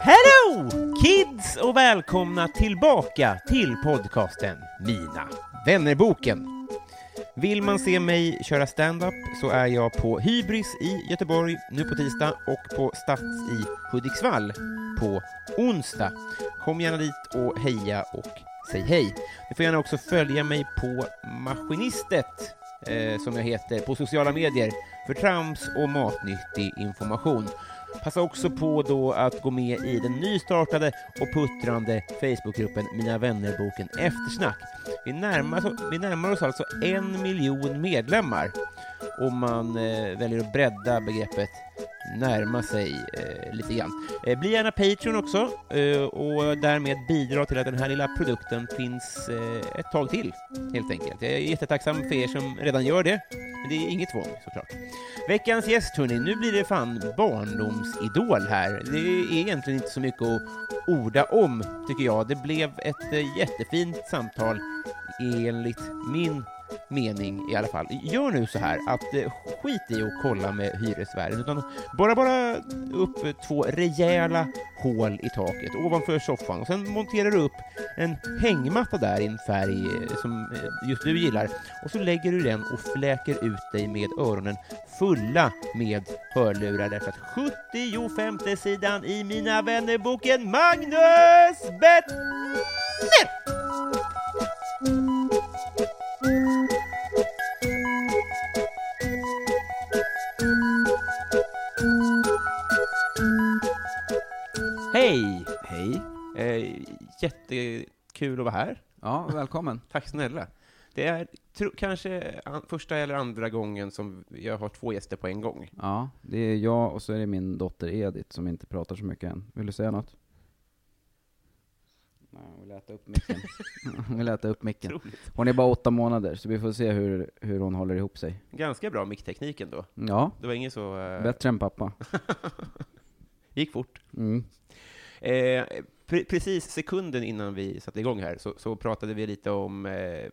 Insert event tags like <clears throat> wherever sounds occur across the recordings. Hello kids och välkomna tillbaka till podcasten Mina vännerboken. Vill man se mig köra stand-up så är jag på Hybris i Göteborg nu på tisdag och på Stats i Hudiksvall på onsdag. Kom gärna dit och heja och säg hej. Ni får gärna också följa mig på Maskinistet eh, som jag heter på sociala medier för trams och matnyttig information. Passa också på då att gå med i den nystartade och puttrande Facebookgruppen Mina vännerboken Eftersnack. Vi närmar, oss- vi närmar oss alltså en miljon medlemmar om man eh, väljer att bredda begreppet närma sig eh, lite grann. Eh, bli gärna Patreon också eh, och därmed bidra till att den här lilla produkten finns eh, ett tag till, helt enkelt. Jag är jättetacksam för er som redan gör det, men det är inget tvång såklart. Veckans gäst, hörni, nu blir det fan barndomsidol här. Det är egentligen inte så mycket att orda om, tycker jag. Det blev ett eh, jättefint samtal, enligt min mening i alla fall. Gör nu så här att eh, skit i att kolla med hyresvärden, utan bara, bara upp eh, två rejäla hål i taket ovanför soffan och sen monterar du upp en hängmatta där i en färg eh, som eh, just du gillar och så lägger du den och fläker ut dig med öronen fulla med hörlurar därför att 75 sidan i Mina vännerboken Magnus Bettner! Hej! Hej. Eh, jättekul att vara här. Ja, välkommen. <laughs> Tack snälla. Det är tro, kanske an, första eller andra gången som jag har två gäster på en gång. Ja, det är jag och så är det min dotter Edith som inte pratar så mycket än. Vill du säga något? Nej, hon vill äta upp micken. <laughs> hon vill äta upp micken. Otroligt. Hon är bara åtta månader, så vi får se hur, hur hon håller ihop sig. Ganska bra mickteknik ändå. Ja, Det var inget så... eh, bättre än pappa. gick fort. Mm. Eh, pre- precis sekunden innan vi satte igång här så, så pratade vi lite om eh, eh,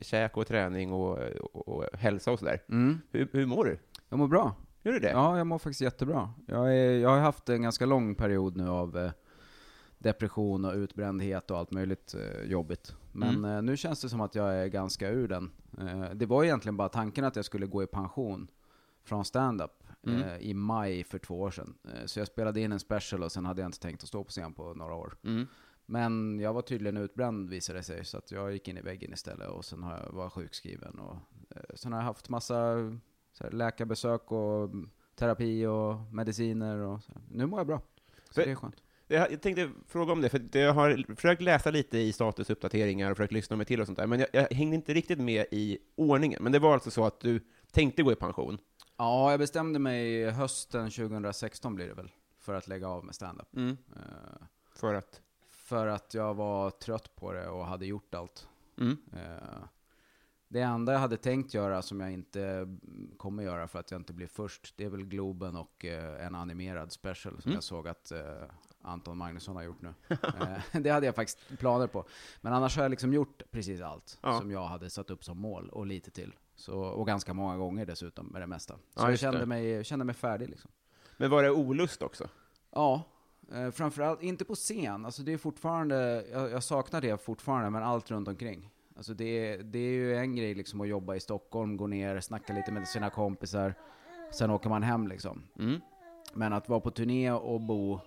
käk och träning och, och, och hälsa och sådär. Mm. Hur, hur mår du? Jag mår bra. Gör du det? Ja, jag mår faktiskt jättebra. Jag, är, jag har haft en ganska lång period nu av eh, depression och utbrändhet och allt möjligt eh, jobbigt. Men Mm. eh, nu känns det som att jag är ganska ur den. Eh, det var egentligen bara tanken att jag skulle gå i pension från stand-up eh, Mm. i maj för två år sedan. Eh, så jag spelade in en special och sen hade jag inte tänkt att stå på scen på några år. Mm. Men jag var tydligen utbränd visade det sig, så att jag gick in i väggen istället och sen har jag var sjukskriven. Och, eh, sen har jag haft massa så här, läkarbesök och mm, terapi och mediciner och så. här. Nu mår jag bra. Så För- det är skönt. Jag jag tänkte fråga om det, för jag har försökt läsa lite i statusuppdateringar och försökt lyssna mig till och sånt där, men jag, jag hängde inte riktigt med i ordningen. Men det var alltså så att du tänkte gå i pension? Ja, jag bestämde mig hösten 2016 blir det väl, för att lägga av med standup. Eh, För att? för att jag var trött på det och hade gjort allt. Mm. Eh, Det enda jag hade tänkt göra som jag inte mm, kommer göra för att jag inte blir först, det är väl Globen och eh, en animerad special som Mm. jag såg att eh, Anton Magnusson har gjort nu. Eh, <laughs> det hade jag faktiskt planer på. Men annars har jag liksom gjort precis allt Ja. som jag hade satt upp som mål och lite till. Så, och ganska många gånger dessutom med det mesta. Så Ja, jag just det. kände mig, kände mig färdig liksom. Men var det olust också? Ja, eh, framförallt, inte på scen. Alltså det är fortfarande, jag, jag saknar det fortfarande, men allt runt omkring. Alltså det, är- det är ju en grej liksom att jobba i Stockholm, gå ner, snacka lite med sina kompisar, sen åker man hem liksom. Men att vara på turné och bo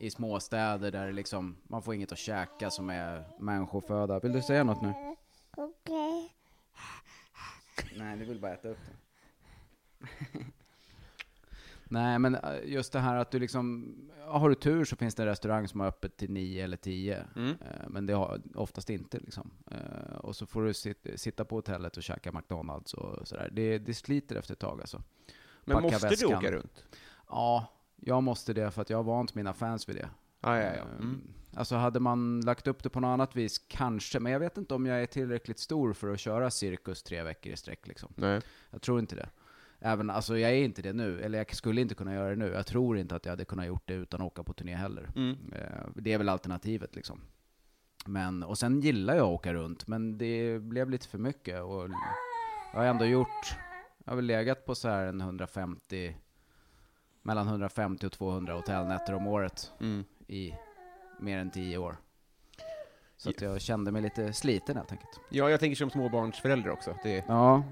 i småstäder där det liksom, man får inget att käka som är människoföda. Vill du säga något nu? Okay. Nej, du vill bara äta upp det. <laughs> Nej, men eh, just det här att du liksom, ja, har du tur så finns det en restaurang som har öppet till nio eller tio. Mm. Eh, Men det har oftast inte liksom. Eh, Och så får du sit, sitta på hotellet och käka McDonalds och sådär. Det, det sliter efter ett tag alltså. Men Packa måste väskan. du åka runt? Ja, jag måste det för att jag har vant mina fans vid det. Ah, ja, ja. Eh, Mm. Alltså hade man lagt upp det på något annat vis, kanske. Men jag vet inte om jag är tillräckligt stor för att köra cirkus tre veckor i sträck liksom. Nej. Jag tror inte det. Även, alltså jag är inte det nu, eller jag skulle inte kunna göra det nu. Jag tror inte att jag hade kunnat gjort det utan att åka på turné heller. Mm. Eh, Det är väl alternativet liksom. Men, och sen gillar jag att åka runt, men det blev lite för mycket. Och jag har ändå gjort, jag har väl legat på så här en 150, mellan 150 och 200 hotellnätter om året Mm. i mer än 10 år. Så att jag kände mig lite sliten helt enkelt. Ja, jag tänker som småbarnsförälder också. Det... Ja,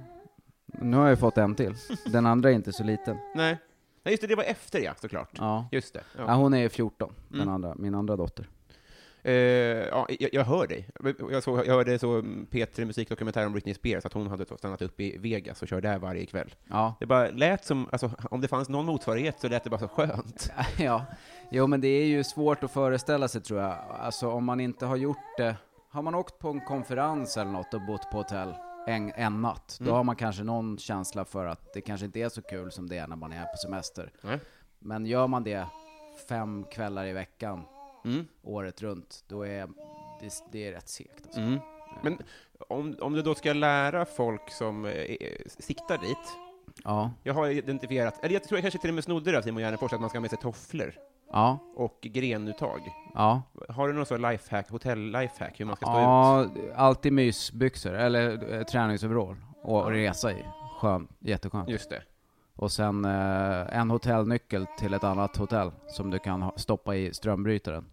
nu har jag fått en till. Den andra är inte så liten. Nej. Nej, just det, det var efter ja, såklart. Ja. Just det. Ja. Ja. hon är 14, den Mm. andra, min andra dotter. Eh, ja, jag, jag hör dig. Jag, såg, jag hörde så Petri musikdokumentär om Britney Spears, att hon hade stannat upp i Vegas och kör där varje kväll. Ja. Det bara lät som, alltså, om det fanns någon motsvarighet så lät det bara så skönt. <laughs> ja. Jo men det är ju svårt att föreställa sig tror jag. Alltså om man inte har gjort det. Har man åkt på en konferens eller något och bott på hotell en, en natt, då har man kanske någon känsla för att det kanske inte är så kul som det är när man är på semester. Nej. Men gör man det fem kvällar i veckan, Mm. året runt, då är det, det är rätt segt. Alltså. Mm. Men om, om du då ska lära folk som eh, eh, siktar dit, Ja. jag har identifierat, eller jag tror jag kanske till och med snodde det av Simon Gärdenfors, att man ska ha med sig tofflor Ja. och grenuttag. Ja. Har du någon sån lifehack, hotell-lifehack, hur man ska stå ut? Ja, alltid mysbyxor, eller eh, träningsoverall och och resa i. Skön, jätteskönt. Just det. Och sen eh, en hotellnyckel till ett annat hotell som du kan ha, stoppa i strömbrytaren.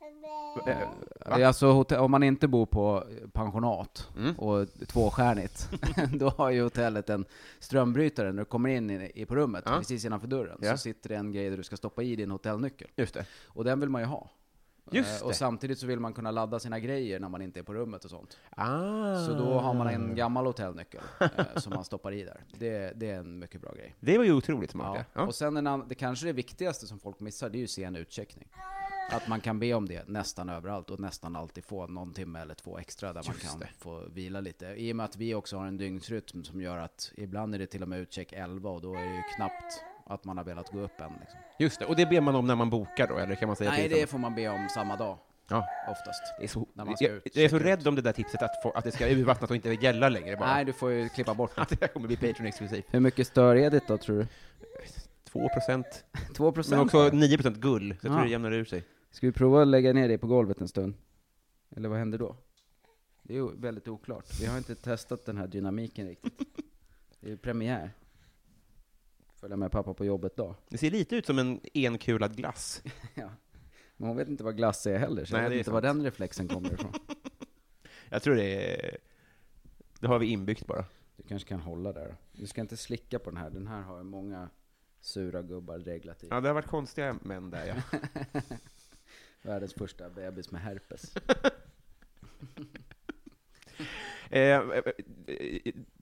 Eh, Det är Alltså hotell, om man inte bor på eh, pensionat Mm. och <laughs> tvåstjärnigt, <laughs> då har ju hotellet en strömbrytare när du kommer in i, i på rummet, Ja. precis innanför dörren, Ja. så sitter det en grej där du ska stoppa i din hotellnyckel. Just det. Och den vill man ju ha. Just Eh, och det. samtidigt så vill man kunna ladda sina grejer när man inte är på rummet och sånt. Ah. Så då har man en gammal hotellnyckel eh, som man stoppar i där. Det, det är en mycket bra grej. Det var ju otroligt smart. Ja. Ja. Ja. Och sen en annan, det kanske det viktigaste som folk missar, det är ju sen utcheckning. Att man kan be om det nästan överallt och nästan alltid få någon timme eller två extra där man kan få vila lite. I och med att vi också har en dygnsrytm som gör att ibland är det till och med utcheck 11 och då är det ju knappt att man har velat gå upp än. Liksom. Just det. Och det ber man om när man bokar då, eller kan man säga Nej, till det som- får man be om samma dag ja. oftast. det är så, när man ska jag, ut, jag är så checka ut. rädd om det där tipset att, få, att det ska urvattnas och inte gälla längre bara. Nej, du får ju klippa bort <laughs> det. Att det här kommer bli Patreon-exklusivt. Hur mycket stör är det då tror du? 2 procent, 2 procent? men också 9 procent gull, så jag Ja. tror det jämnar ur sig. Ska vi prova att lägga ner dig på golvet en stund? Eller vad händer då? Det är ju väldigt oklart. Vi har inte testat den här dynamiken riktigt. Det är ju premiär. Följa med pappa på jobbet dag. Det ser lite ut som en enkulad glass. <laughs> Ja. Men hon vet inte vad glass är heller, så Nej, jag det vet är inte var sant. den reflexen kommer ifrån. Jag tror det är... Det har vi inbyggt bara. Du kanske kan hålla där då. Du ska inte slicka på den här, den här har ju många sura gubbar reglat i. Ja, det har varit konstiga män där ja. <laughs> Världens första bebis med herpes. <laughs> Eh, eh, eh,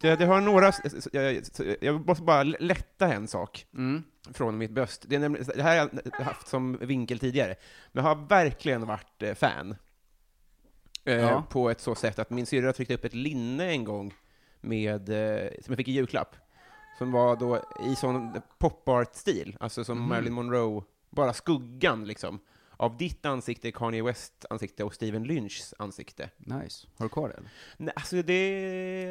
jag, jag har några... s- s- Jag, jag måste bara lätta en sak Mm. från mitt bröst. Det, är nämligen, det här har jag haft som vinkel tidigare, men jag har verkligen varit eh, fan. Eh, Ja. På ett så sätt att min syrra tryckte upp ett linne en gång med, eh, som jag fick i julklapp, som var då i sån popart-stil, alltså Mm. som Marilyn Monroe, bara skuggan liksom, av ditt ansikte, Kanye West ansikte och Steven Lynchs ansikte. Nice. Har du kvar det eller? Nej, alltså det...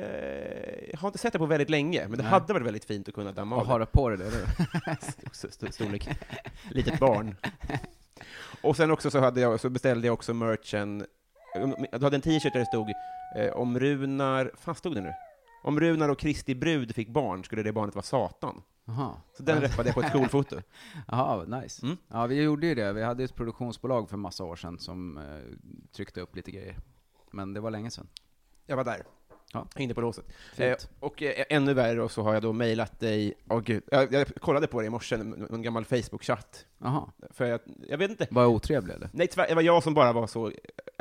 eh, Jag har inte sett det på väldigt länge, men det Nej. hade varit väldigt fint att kunna damma Och av har du på dig det eller? st- st- storlek. Litet barn. Och sen också så, hade jag, så beställde jag också Um, merchen, du hade en t-shirt där det stod eh, om Runar, fan stod det nu? Om Runar och Kristi brud fick barn skulle det barnet vara Satan. Jaha. Så den räppade <laughs> jag på ett skolfoto. Jaha, nice. Mm. Ja, vi gjorde ju det. Vi hade ju ett produktionsbolag för massa år sedan som eh, tryckte upp lite grejer. Men det var länge sedan. Jag var där. Ja. Inte på låset. Eh, Fint. och eh, ännu värre då så har jag då mejlat dig, åh gud, jag, jag kollade på det i morse, en, en gammal Facebook-chatt. Jaha. För jag, jag vet inte, Var jag otrevlig eller? nej tyvärr, det var jag som bara var så,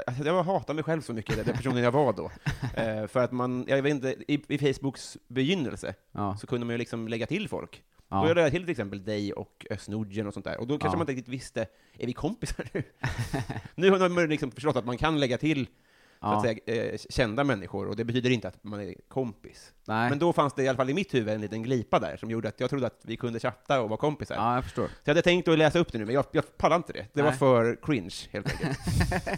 alltså, jag hatade mig själv så mycket, den- den personen jag var då. <laughs> Eh, för att man, jag vet inte, i, i Facebooks begynnelse Ja. så kunde man ju liksom lägga till folk. Ja. Då lade jag till till exempel dig och Özz Nudgen och sånt där, och då kanske Ja. man inte riktigt visste, är vi kompisar nu? <laughs> nu har man liksom förstått att man kan lägga till så Ja. att säga, eh, kända människor, och det betyder inte att man är kompis. Nej. Men då fanns det i alla fall i mitt huvud en liten glipa där, som gjorde att jag trodde att vi kunde chatta och vara kompisar. Ja, jag förstår. Så jag hade tänkt att läsa upp det nu, men jag, jag pallar inte det. Det var Nej. för cringe, helt enkelt. <laughs>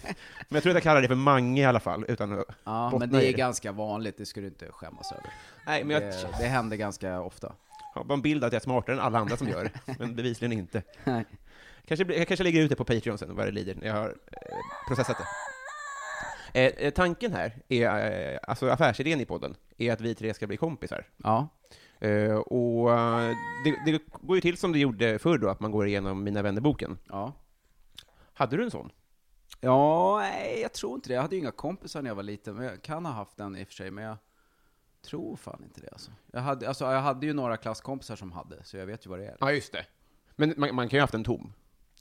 men jag tror att jag kallar det för Mange i alla fall, utan att Ja, bottna men det i är ganska vanligt. Det ska du inte skämmas över. Nej, men jag Det, det händer ganska ofta. har bara en bild av att jag är smartare än alla andra som <laughs> gör det, men bevisligen inte. Nej. Kanske, blir- jag kanske lägger ut det på Patreon sen, vad det lider, när jag har eh, processat det. Eh, Eh, tanken här, är, eh, alltså affärsidén i podden, är att vi tre ska bli kompisar. Ja. Eh, och eh, det, det går ju till som det gjorde förr då, att man går igenom Mina vännerboken. Ja. Hade du en sån? Ja, nej, jag tror inte det. Jag hade ju inga kompisar när jag var liten, men jag kan ha haft den i och för sig, men jag tror fan inte det alltså. Jag hade, alltså, jag hade ju några klasskompisar som hade, så jag vet ju vad det är. Ja, just det. Men man, man kan ju ha haft en tom.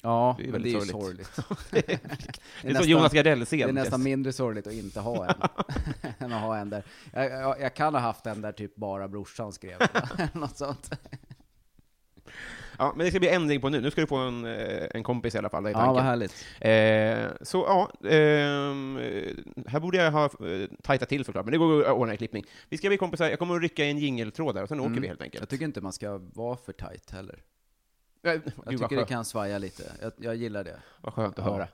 Ja, det är men det är väldigt ju sorgligt. <laughs> sorgligt. det är, Det så nästan- Jonas Gardell Det scen. är nästan mindre sorgligt att inte ha <laughs> en, än att ha en där. Jag, jag, jag kan ha haft en där typ bara brorsan <laughs> skrev, eller något sånt. Ja, men det ska bli ändring på nu. Nu ska du få en, eh, en kompis i alla fall, det är Ja, vad tanken. härligt. eh, så ja, ehm, eh, här borde jag ha eh, tajtat till såklart, men det går att ordna i klippning. Vi ska bli kompisar, jag kommer att rycka i en jingeltråd där och sen åker vi helt Mm. Jag enkelt. Eh, tycker inte man ska vara för tight heller. Jag, Jag tycker det kan svaja lite. Jag, jag gillar det. Vad skönt att Ja. <laughs> höra.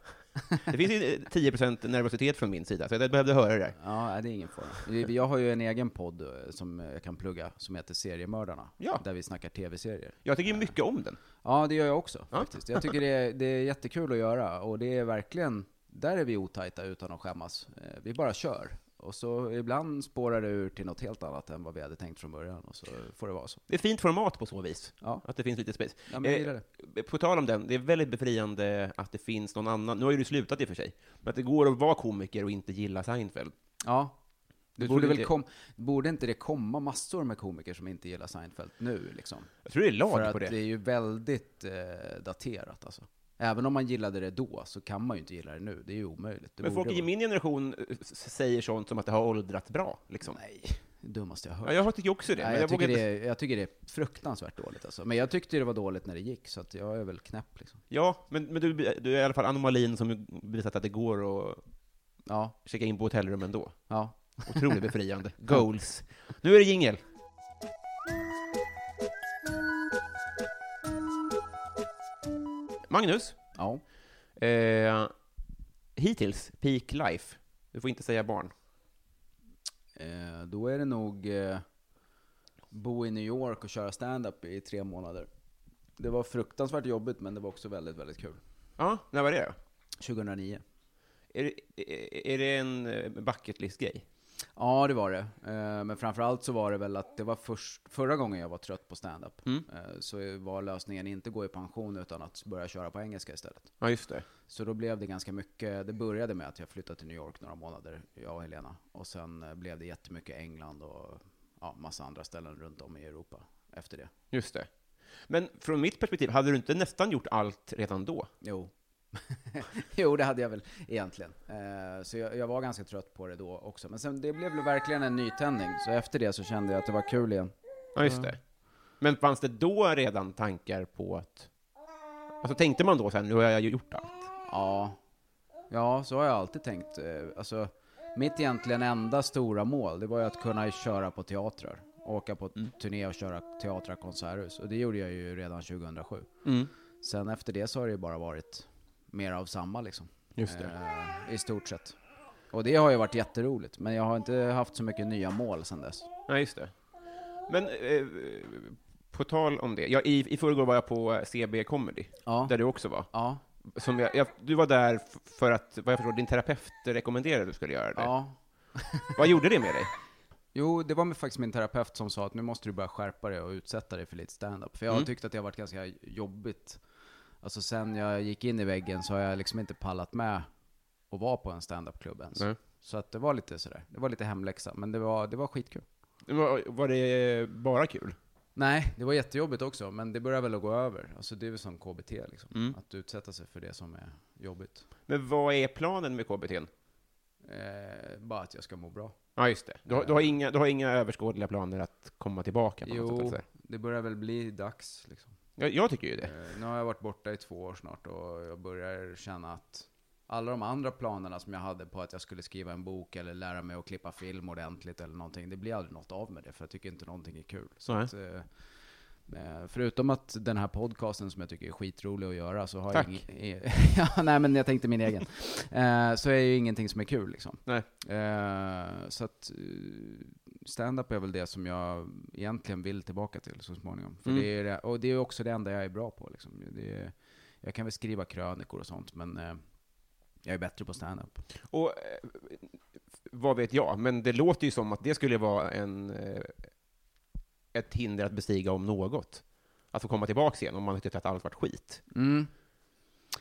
Det finns ju eh, 10% nervositet från min sida, så jag behövde höra det där. Ja, nej, det är ingen fara. Jag har ju en egen podd eh, som jag kan plugga, som heter Seriemördarna. Ja. Där vi snackar tv-serier. Jag tycker mycket om den. Ja, det gör jag också Ja. faktiskt. Jag tycker det är, det är jättekul att göra, och det är verkligen, där är vi otajta utan att skämmas. Eh, Vi bara kör. Och så ibland spårar det ur till något helt annat än vad vi hade tänkt från början, och så får det vara så. Det är ett fint format på så vis, Ja. att det finns lite space. Ja, men jag gillar det. Eh, på tal om den, det är väldigt befriande att det finns någon annan, nu har ju du slutat i och för sig, men att det går att vara komiker och inte gilla Seinfeld. Ja. Du Det trodde borde, väl inte- kom, borde inte det komma massor med komiker som inte gillar Seinfeld nu liksom? Jag tror det är För lag att på det. det är ju väldigt eh, daterat alltså. Även om man gillade det då, så kan man ju inte gilla det nu. Det är ju omöjligt. Det Men folk borde i vara- min generation eh, s- säger sånt som att det har åldrats bra, liksom. Nej, det dummaste jag har Ja, hört. jag tycker också det, Nej, men jag, jag tycker vågar det inte... är, jag tycker det är fruktansvärt dåligt alltså. Men jag tyckte det var dåligt när det gick, så att jag är väl knäpp liksom. Ja, men, men du, du är i alla fall anomalin som visat att det går att Ja, checka in på hotellrum ändå. ja. Otroligt <laughs> befriande. Goals. Nu är det jingel. Magnus, Ja. eh, hittills, peak life. Du får inte säga barn. Eh, då är det nog eh, bo i New York och köra stand-up i tre månader. Det var fruktansvärt jobbigt, men det var också väldigt, väldigt kul. Ja, när var det då? 2009. Är det, är- är det en eh, bucket list-grej? Ja, det var det. Eh, Men framförallt så var det väl att det var först, förra gången jag var trött på stand-up Mm. eh, så var lösningen inte gå i pension utan att börja köra på engelska istället. Ja, just det. Så då blev det ganska mycket, det började med att jag flyttade till New York några månader, jag och Helena. Och sen eh, blev det jättemycket England och ja, massa andra ställen runt om i Europa efter det. Just det. Men från mitt perspektiv, hade du inte nästan gjort allt redan då? Jo. <laughs> jo, det hade jag väl egentligen. Eh, så jag, jag var ganska trött på det då också. Men sen, det blev väl verkligen en nytändning. Så efter det så kände jag att det var kul igen. Ja, just det. Men fanns det då redan tankar på att... Alltså tänkte man då så här, nu har jag ju gjort allt? Ja. ja, så har jag alltid tänkt. Eh, Alltså, mitt egentligen enda stora mål, det var ju att kunna köra på teatrar. Åka på Mm. turné och köra teatrar, konserthus. Och det gjorde jag ju redan 2007. Mm. Sen efter det så har det ju bara varit mer av samma liksom. Just det. Eh, I stort sett. Och det har ju varit jätteroligt, men jag har inte haft så mycket nya mål sen dess. Nej, just det. Men eh, på tal om det, jag, i, i förrgår var jag på CB Comedy, Ja. där du också var. Ja, Som jag, jag, du var där f- för att, vad jag förstår, din terapeut rekommenderade att du skulle göra det. ja. Vad gjorde det med dig? Jo, det var med- faktiskt min terapeut som sa att nu måste du börja skärpa dig och utsätta dig för lite stand-up. För jag har Mm. tyckt att det har varit ganska jobbigt. Alltså sen jag gick in i väggen så har jag liksom inte pallat med att vara på en stand-up-klubb ens. Nej. Så att det var lite sådär, det var lite hemläxa, men det var, det var skitkul. Var, var det bara kul? Nej, det var jättejobbigt också, men det börjar väl att gå över. Alltså det är väl som KBT liksom, Mm. att utsätta sig för det som är jobbigt. Men vad är planen med KBT? Eh, bara att jag ska må bra. Ja, just det. Du, har- du, har inga, du har inga överskådliga planer att komma tillbaka på något sätt? Jo, Alltså. det börjar väl bli dags liksom. Jag, jag tycker ju det. Eh, Nu har jag varit borta i två år snart och jag börjar känna att alla de andra planerna som jag hade på att jag skulle skriva en bok eller lära mig att klippa film ordentligt eller någonting, det blir aldrig något av med det för jag tycker inte någonting är kul. Så Nej. att, eh, eh, förutom att den här podcasten som jag tycker är skitrolig att göra så har jag Tack. ing- eh, <laughs> ja, nej men jag tänkte min egen. Eh, så är ju ingenting som är kul liksom. Nej. Eh, så att eh, stand-up är väl det som jag egentligen vill tillbaka till så småningom. För Mm. det är, det- och det är också det enda jag är bra på. Liksom. Det är, jag kan väl skriva krönikor och sånt, men eh, jag är bättre på stand-up. Och eh, vad vet jag, men det låter ju som att det skulle vara en, eh, ett hinder att bestiga om något. Att få komma tillbaka igen om man tyckte att allt varit skit. Mm.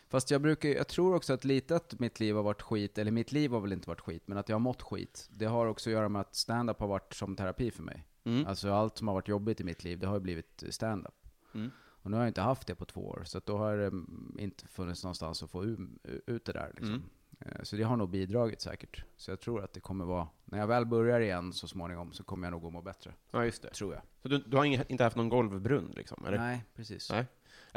Fast jag, brukar, jag tror också att lite att mitt liv har varit skit, eller mitt liv har väl inte varit skit, men att jag har mått skit. Det har också att göra med att stand-up har varit som terapi för mig. Mm. Alltså allt som har varit jobbigt i mitt liv, det har ju blivit stand-up. Mm. Och nu har jag inte haft det på två år, så att då har det mm, inte funnits någonstans att få u- ut det där. Liksom. Mm. Eh, Så det har nog bidragit säkert. Så jag tror att det kommer vara, när jag väl börjar igen så småningom så kommer jag nog att må bättre. Ja, just det. Tror jag. Så du, du har ing- inte haft någon golvbrunn, liksom? Eller? Nej, precis. Nej.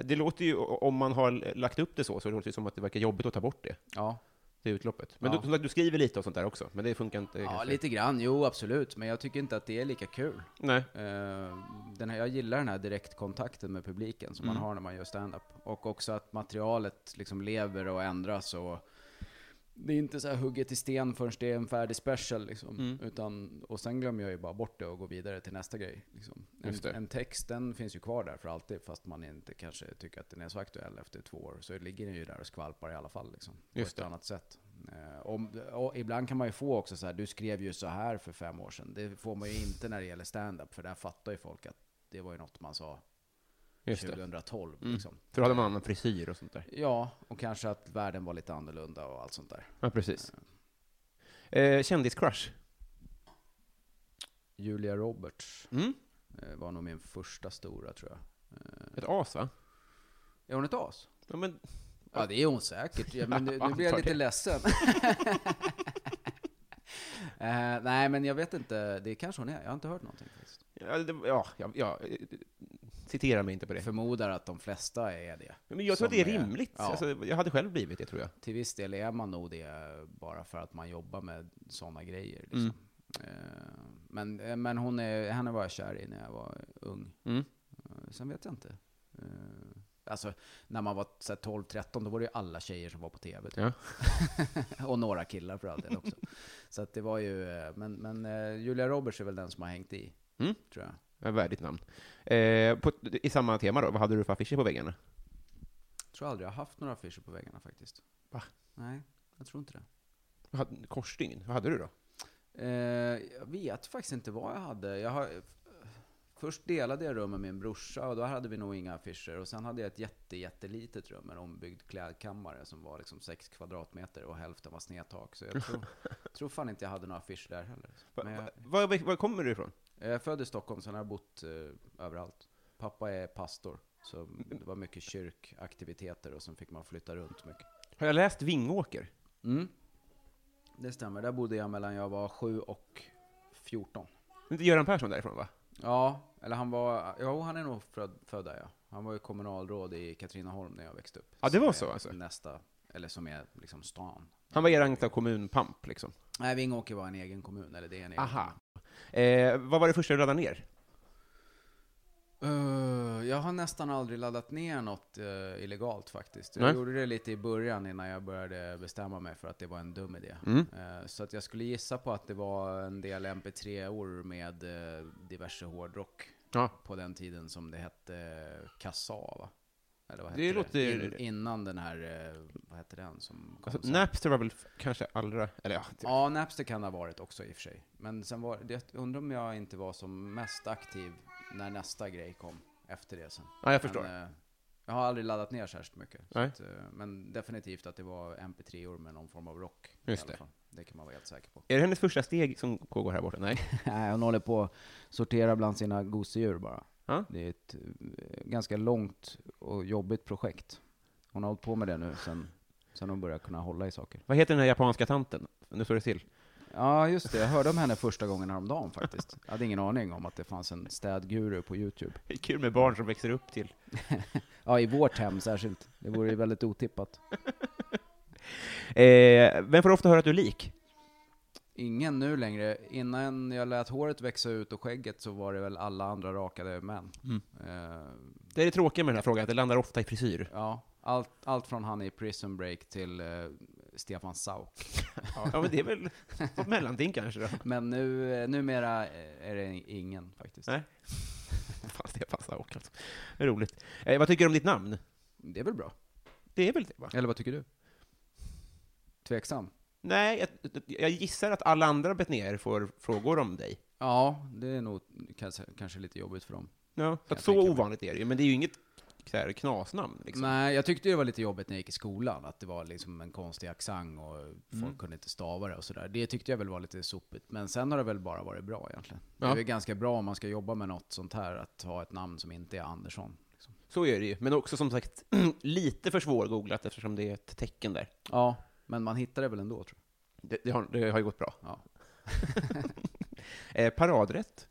Det låter ju, om man har lagt upp det så, så låter det som att det verkar jobbigt att ta bort det, Ja, det utloppet. Men Ja. du, som sagt, du skriver lite och sånt där också, men det funkar inte ja kanske. lite grann. Jo, absolut. Men jag tycker inte att det är lika kul. Nej. Eh, den här, jag gillar den här direktkontakten med publiken som Mm. man har när man gör stand-up. Och också att materialet liksom lever och ändras och det är inte så här hugget i sten förrän det är en färdig special liksom. Mm. Utan, och sen glömmer jag ju bara bort det och går vidare till nästa grej. Liksom. Just det. En, en text, den finns ju kvar där för alltid fast man inte kanske tycker att den är så aktuell efter två år. Så ligger den ju där och skvalpar i alla fall liksom. På Just ett det. annat sätt. Eh, om, och ibland kan man ju få också så här, du skrev ju så här för fem år sedan. Det får man ju inte när det gäller stand-up för där fattar ju folk att det var ju något man sa Just det. 2012 Mm. liksom. För då hade man annan frisyr och sånt där. Ja, och kanske att världen var lite annorlunda och allt sånt där. Ja, precis. Eh, Kändiscrush? Julia Roberts Mm. eh, var nog min första stora tror jag. Eh, Ett as, va? Är hon ett as? Ja, men, Ja, det är hon säkert. <laughs> Ja, men nu, nu blir Antar jag lite det. ledsen. <laughs> Eh, nej, men jag vet inte. Det kanske hon är. Jag har inte hört någonting faktiskt. ja, det, ja, ja, ja, eh, citera mig inte på Jag det. förmodar att de flesta är det. Men jag tror att Som det är är- rimligt. ja. Alltså, jag hade själv blivit det, tror jag. Till viss del är man nog det bara för att man jobbar med sådana grejer. Liksom. Mm. Eh, men eh, men hon är, henne var jag kär i när jag var ung. Mm. Eh, Sen vet jag inte. Eh, Alltså, när man var så här 12-13 då var det ju alla tjejer som var på TV. typ. Ja. <laughs> och några killar för all del också. så att det var ju, eh, men, men eh, Julia Roberts är väl den som har hängt i, Mm. tror jag. Ett värdigt namn. Eh, på, I samma tema då, vad hade du för affischer på väggarna? Jag tror aldrig jag har haft några affischer på väggarna faktiskt. Va? Nej, jag tror inte det. Vad hade- Korsstygn, vad hade du då? Eh, jag vet faktiskt inte vad jag hade. Jag har, först delade jag rum med min brorsa och då hade vi nog inga affischer. Och sen hade jag ett jätte, jättelitet rum, en ombyggd klädkammare som var liksom 6 kvadratmeter och hälften var snedtak. Så jag tror, tror fan inte jag hade några affischer där heller. Va, Men jag, va, var, var, var kommer du ifrån? jag är född i Stockholm, sen har jag bott eh, överallt. Pappa är pastor, så det var mycket kyrkaktiviteter och sen fick man flytta runt mycket. Har jag läst Vingåker? Mm. Det stämmer, där bodde jag mellan jag var 7 och 14. Det är inte Göran Persson därifrån, va? Ja, eller han var, jo han är nog född, född där ja. Han var ju kommunalråd i Katrineholm när jag växte upp. Ja, det var Som så, är alltså. Nästa, eller som är liksom stan. Han var eran så här kommunpamp, liksom. Nej, Vingåker var en egen kommun, eller det är en egen Aha. Eh, vad var det första du laddade ner? kommun. Eh, jag har nästan aldrig laddat ner något eh, illegalt faktiskt. Jag Nej. gjorde det lite i början innan jag började bestämma mig för att det var en dum idé. Mm. Eh, Så att jag skulle gissa på att det var en del MP3-or med eh, diverse hårdrock Ja. på den tiden som det hette eh, Kassa va? Eller vad Det heter det? låter- In, innan den här, eh, vad hette den som kom Alltså, sen? Napster var väl f- kanske allra... Eller ja, det- Ja, Napster kan det ha varit också i och för sig. Men sen var det, jag undrar om jag inte var som mest aktiv när nästa grej kom efter det sen. ja jag förstår. Men, eh, jag har aldrig laddat ner särskilt mycket. Så Nej. att, eh, men definitivt att det var MP3-or med någon form av rock. Just i alla det. fall. det kan man vara helt säker på. Är det hennes första steg som pågår här borta? Nej. <laughs> Nej, hon håller på att sortera bland sina gosedjur bara. Ja. Det är ett eh, ganska långt och jobbigt projekt. Hon har hållit på med det nu sen, sen hon började kunna hålla i saker. Vad heter den här japanska tanten? Nu står det till. Ja, just det. Jag hörde om henne första gången häromdagen faktiskt. Jag hade ingen aning om att det fanns en städguru på YouTube. Det är kul med barn som växer upp till. Ja, i vårt hem särskilt. Det vore ju väldigt otippat. Eh, vem får ofta höra att du är lik? Ingen nu längre. Innan jag lät håret växa ut och skägget så var det väl alla andra rakade män. Mm. Eh, Det är det tråkiga med den här frågan, att det landar ofta i frisyr. ja, allt, allt från han i Prison Break till eh, Stefan Sauk. Ja, men det är <laughs> väl något mellanting kanske då. Men nu, eh, numera eh, är det ingen faktiskt. Nej. Fan, det passar också. Det är roligt. Eh, vad tycker du om ditt namn? Det är väl bra? Det är väl det, va? Eller vad tycker du? Tveksam? Nej, jag, jag gissar att alla andra Betnér får frågor om dig. Ja, det är nog kanske, kanske lite jobbigt för dem. Ja, så jag att tänka så mig. ovanligt är det ju, men det är ju inget så här, knasnamn. Liksom. Nej, jag tyckte det var lite jobbigt när jag gick i skolan, att det var liksom en konstig accent och folk kunde inte stava det och sådär. Det tyckte jag väl var lite sopigt, men sen har det väl bara varit bra egentligen. Det Ja. är väl ganska bra om man ska jobba med något sånt här, att ha ett namn som inte är Andersson. Liksom. Så är det ju, men också som sagt <clears throat> lite för svårgooglat eftersom det är ett tecken där. Ja, men man hittar det väl ändå tror Det, det, har, det har ju gått bra. jag. Ja. <laughs> Eh, paradrätt?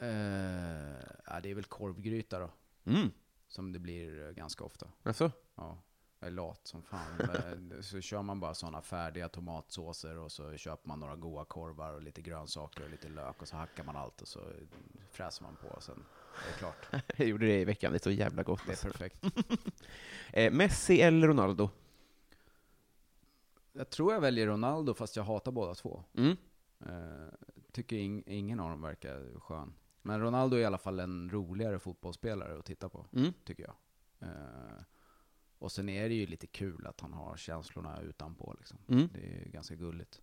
Eh, ja, det är väl korvgryta då, Mm. som det blir eh, ganska ofta. Alltså? Ja, jag är lat som fan. Men eh, så kör man bara sådana färdiga tomatsåser och så köper man några goda korvar och lite grönsaker och lite lök och så hackar man allt och så fräser man på och sen är det klart. Jag gjorde det i veckan, det är så jävla gott. Det är perfekt. Eh, Messi eller Ronaldo? Jag tror jag väljer Ronaldo fast jag hatar båda två. Mm. Eh, tycker ing- ingen av dem verkar skön. Men Ronaldo är i alla fall en roligare fotbollsspelare att titta på, Mm. tycker jag. Eh, och sen är det ju lite kul att han har känslorna utanpå liksom. Mm. Det är ju ganska gulligt.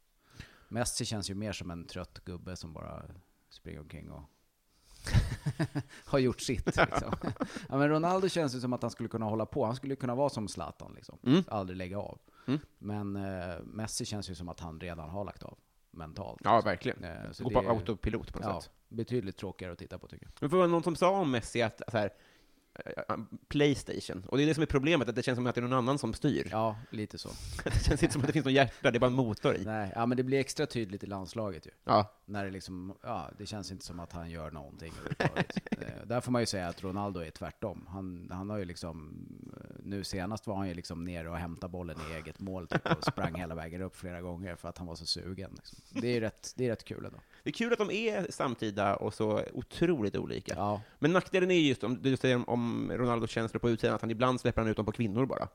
Messi känns ju mer som en trött gubbe som bara springer omkring och <laughs> har gjort <laughs> sitt. Liksom. ja, men Ronaldo känns ju som att han skulle kunna hålla på. Han skulle kunna vara som Zlatan, liksom. Mm. aldrig lägga av. Mm. Men eh, Messi känns ju som att han redan har lagt av mentalt. Ja, verkligen. Eh, så Gå det på är ju- autopilot på något ja, sätt. betydligt tråkigare att titta på tycker jag. Men för det var någon som sa om Messi att så här, eh, Playstation, och det är det som är problemet, att det känns som att det är någon annan som styr. Ja, lite så. <laughs> Det känns inte som att det finns något hjärta, det är bara en motor i. Nej, ja, men det blir extra tydligt i landslaget ju. Ja. När det liksom, ja, det känns inte som att han gör någonting <laughs> överhuvudtaget. Eh, Där får man ju säga att Ronaldo är tvärtom. Han, han har ju liksom, eh, nu senast var han ju liksom nere och hämtade bollen i eget mål typ, och sprang hela vägen upp flera gånger för att han var så sugen. Liksom. Det är ju rätt, det är rätt kul ändå. Det är kul att de är samtida och så otroligt olika. Ja, Men nackdelen är ju just om du säger om- om Ronaldos känslor på utsidan, att han ibland släpper han ut dem på kvinnor bara.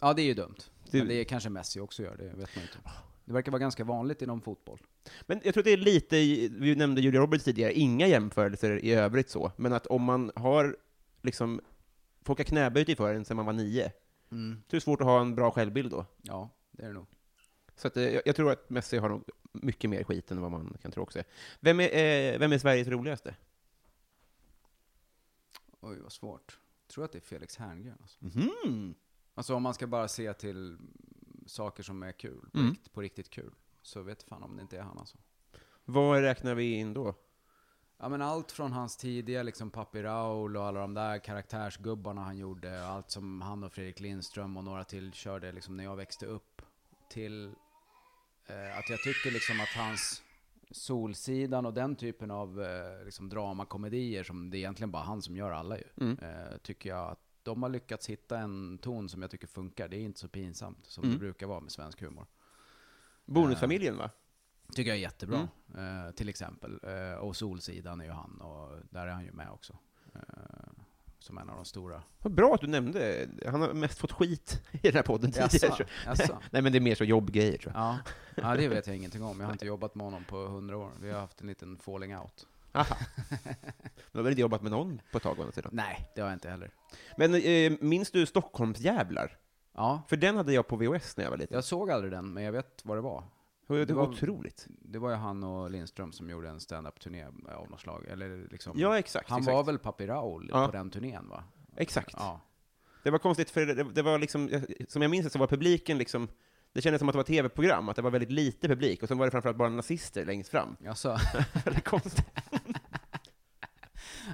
ja det är ju dumt. Du- Men det är kanske Messi också gör, det vet man ju inte. Det verkar vara ganska vanligt inom fotboll. Men jag tror att det är lite, vi nämnde Julia Roberts tidigare, inga jämförelser i övrigt så, men att om man har liksom, folk har knäböjt i för en sedan man var nio, Mm. så är det svårt att ha en bra självbild då. Ja, det är det nog. Så att, eh, jag, jag tror att Messi har nog mycket mer skit än vad man kan tro också. Vem är, eh, vem är Sveriges roligaste? Oj, vad svårt. Jag tror att det är Felix Herngren. Alltså. Mhm. Alltså om man ska bara se till saker som är kul, på, Mm. rikt, på riktigt kul, så vet fan om det inte är han alltså. Vad räknar vi in då? Ja men allt från hans tidiga liksom Papi Raoul och alla de där karaktärsgubbarna han gjorde, och allt som han och Fredrik Lindström och några till körde liksom när jag växte upp, till eh, att jag tycker liksom att hans Solsidan och den typen av eh, liksom dramakomedier som det är egentligen bara han som gör alla ju. Mm. Eh, tycker jag att de har lyckats hitta en ton som jag tycker funkar. Det är inte så pinsamt som Mm. det brukar vara med svensk humor. Bonusfamiljen va? Tycker jag är jättebra, Mm. eh, till exempel. Eh, och Solsidan är ju han, och där är han ju med också. Eh, som en av <laughs> de stora. Vad bra att du nämnde, han har mest fått skit i den här podden tidigare. tror jag. <laughs> Jaså? Nej men det är mer så jobbgrejer tror jag. Ja. ja, det vet jag ingenting om. Jag har inte jobbat med honom på hundra år. Vi har haft en liten falling out. Aha. Du har väl inte jobbat med någon på ett tag å andra sidan. Nej, det har jag inte heller. Men eh, minns du Stockholmsjävlar? Ja, För den hade jag på VHS när jag var liten. jag såg aldrig den, men jag vet vad det var. Det var, det var- otroligt. Det var ju han och Lindström som gjorde en stand-up-turné av något slag. Eller liksom, Ja, exakt. han exakt. var väl Papi Raoul Ja. på den turnén va? Exakt. Ja. Det var konstigt, för det, det var liksom, jag- som jag minns det så var publiken liksom, det kändes som att det var ett tv-program, att det var väldigt lite publik, och sen var det framförallt bara nazister längst <laughs> fram. Jaså? Väldigt konstigt.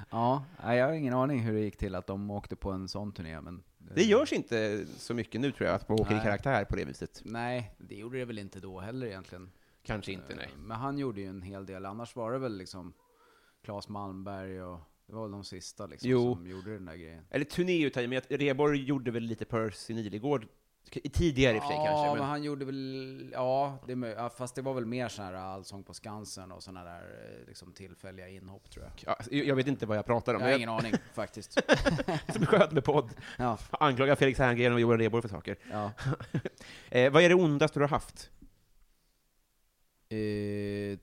ja, nej, jag har ingen aning hur det gick till att de åkte på en sån turné, men... eh, Det görs inte så mycket nu tror jag, att man åker i Nej. karaktär på det viset. Nej, det gjorde det väl inte då heller egentligen. Kanske Eh, Men han gjorde ju en hel del, annars var det väl liksom Claes Malmberg och det var väl de sista liksom Jo. som gjorde den där grejen. Eller turné är att ta i, men att Rheborg gjorde väl lite Percy Nilegård k- tidigare i och för sig ja, kanske. men... Men, han gjorde väl, ja, det är möj- ja, fast det var väl mer sån här Allsång på Skansen och såna där eh, liksom tillfälliga inhopp tror jag. ja, alltså, jag jag vet inte vad jag pratar om, Jag har men ingen jag aning faktiskt. <laughs> som sköt med podd. Ja, Anklagar Felix Herngren och Johan Rheborg för saker. ja. Eh, vad är det ondaste du har haft? Eh,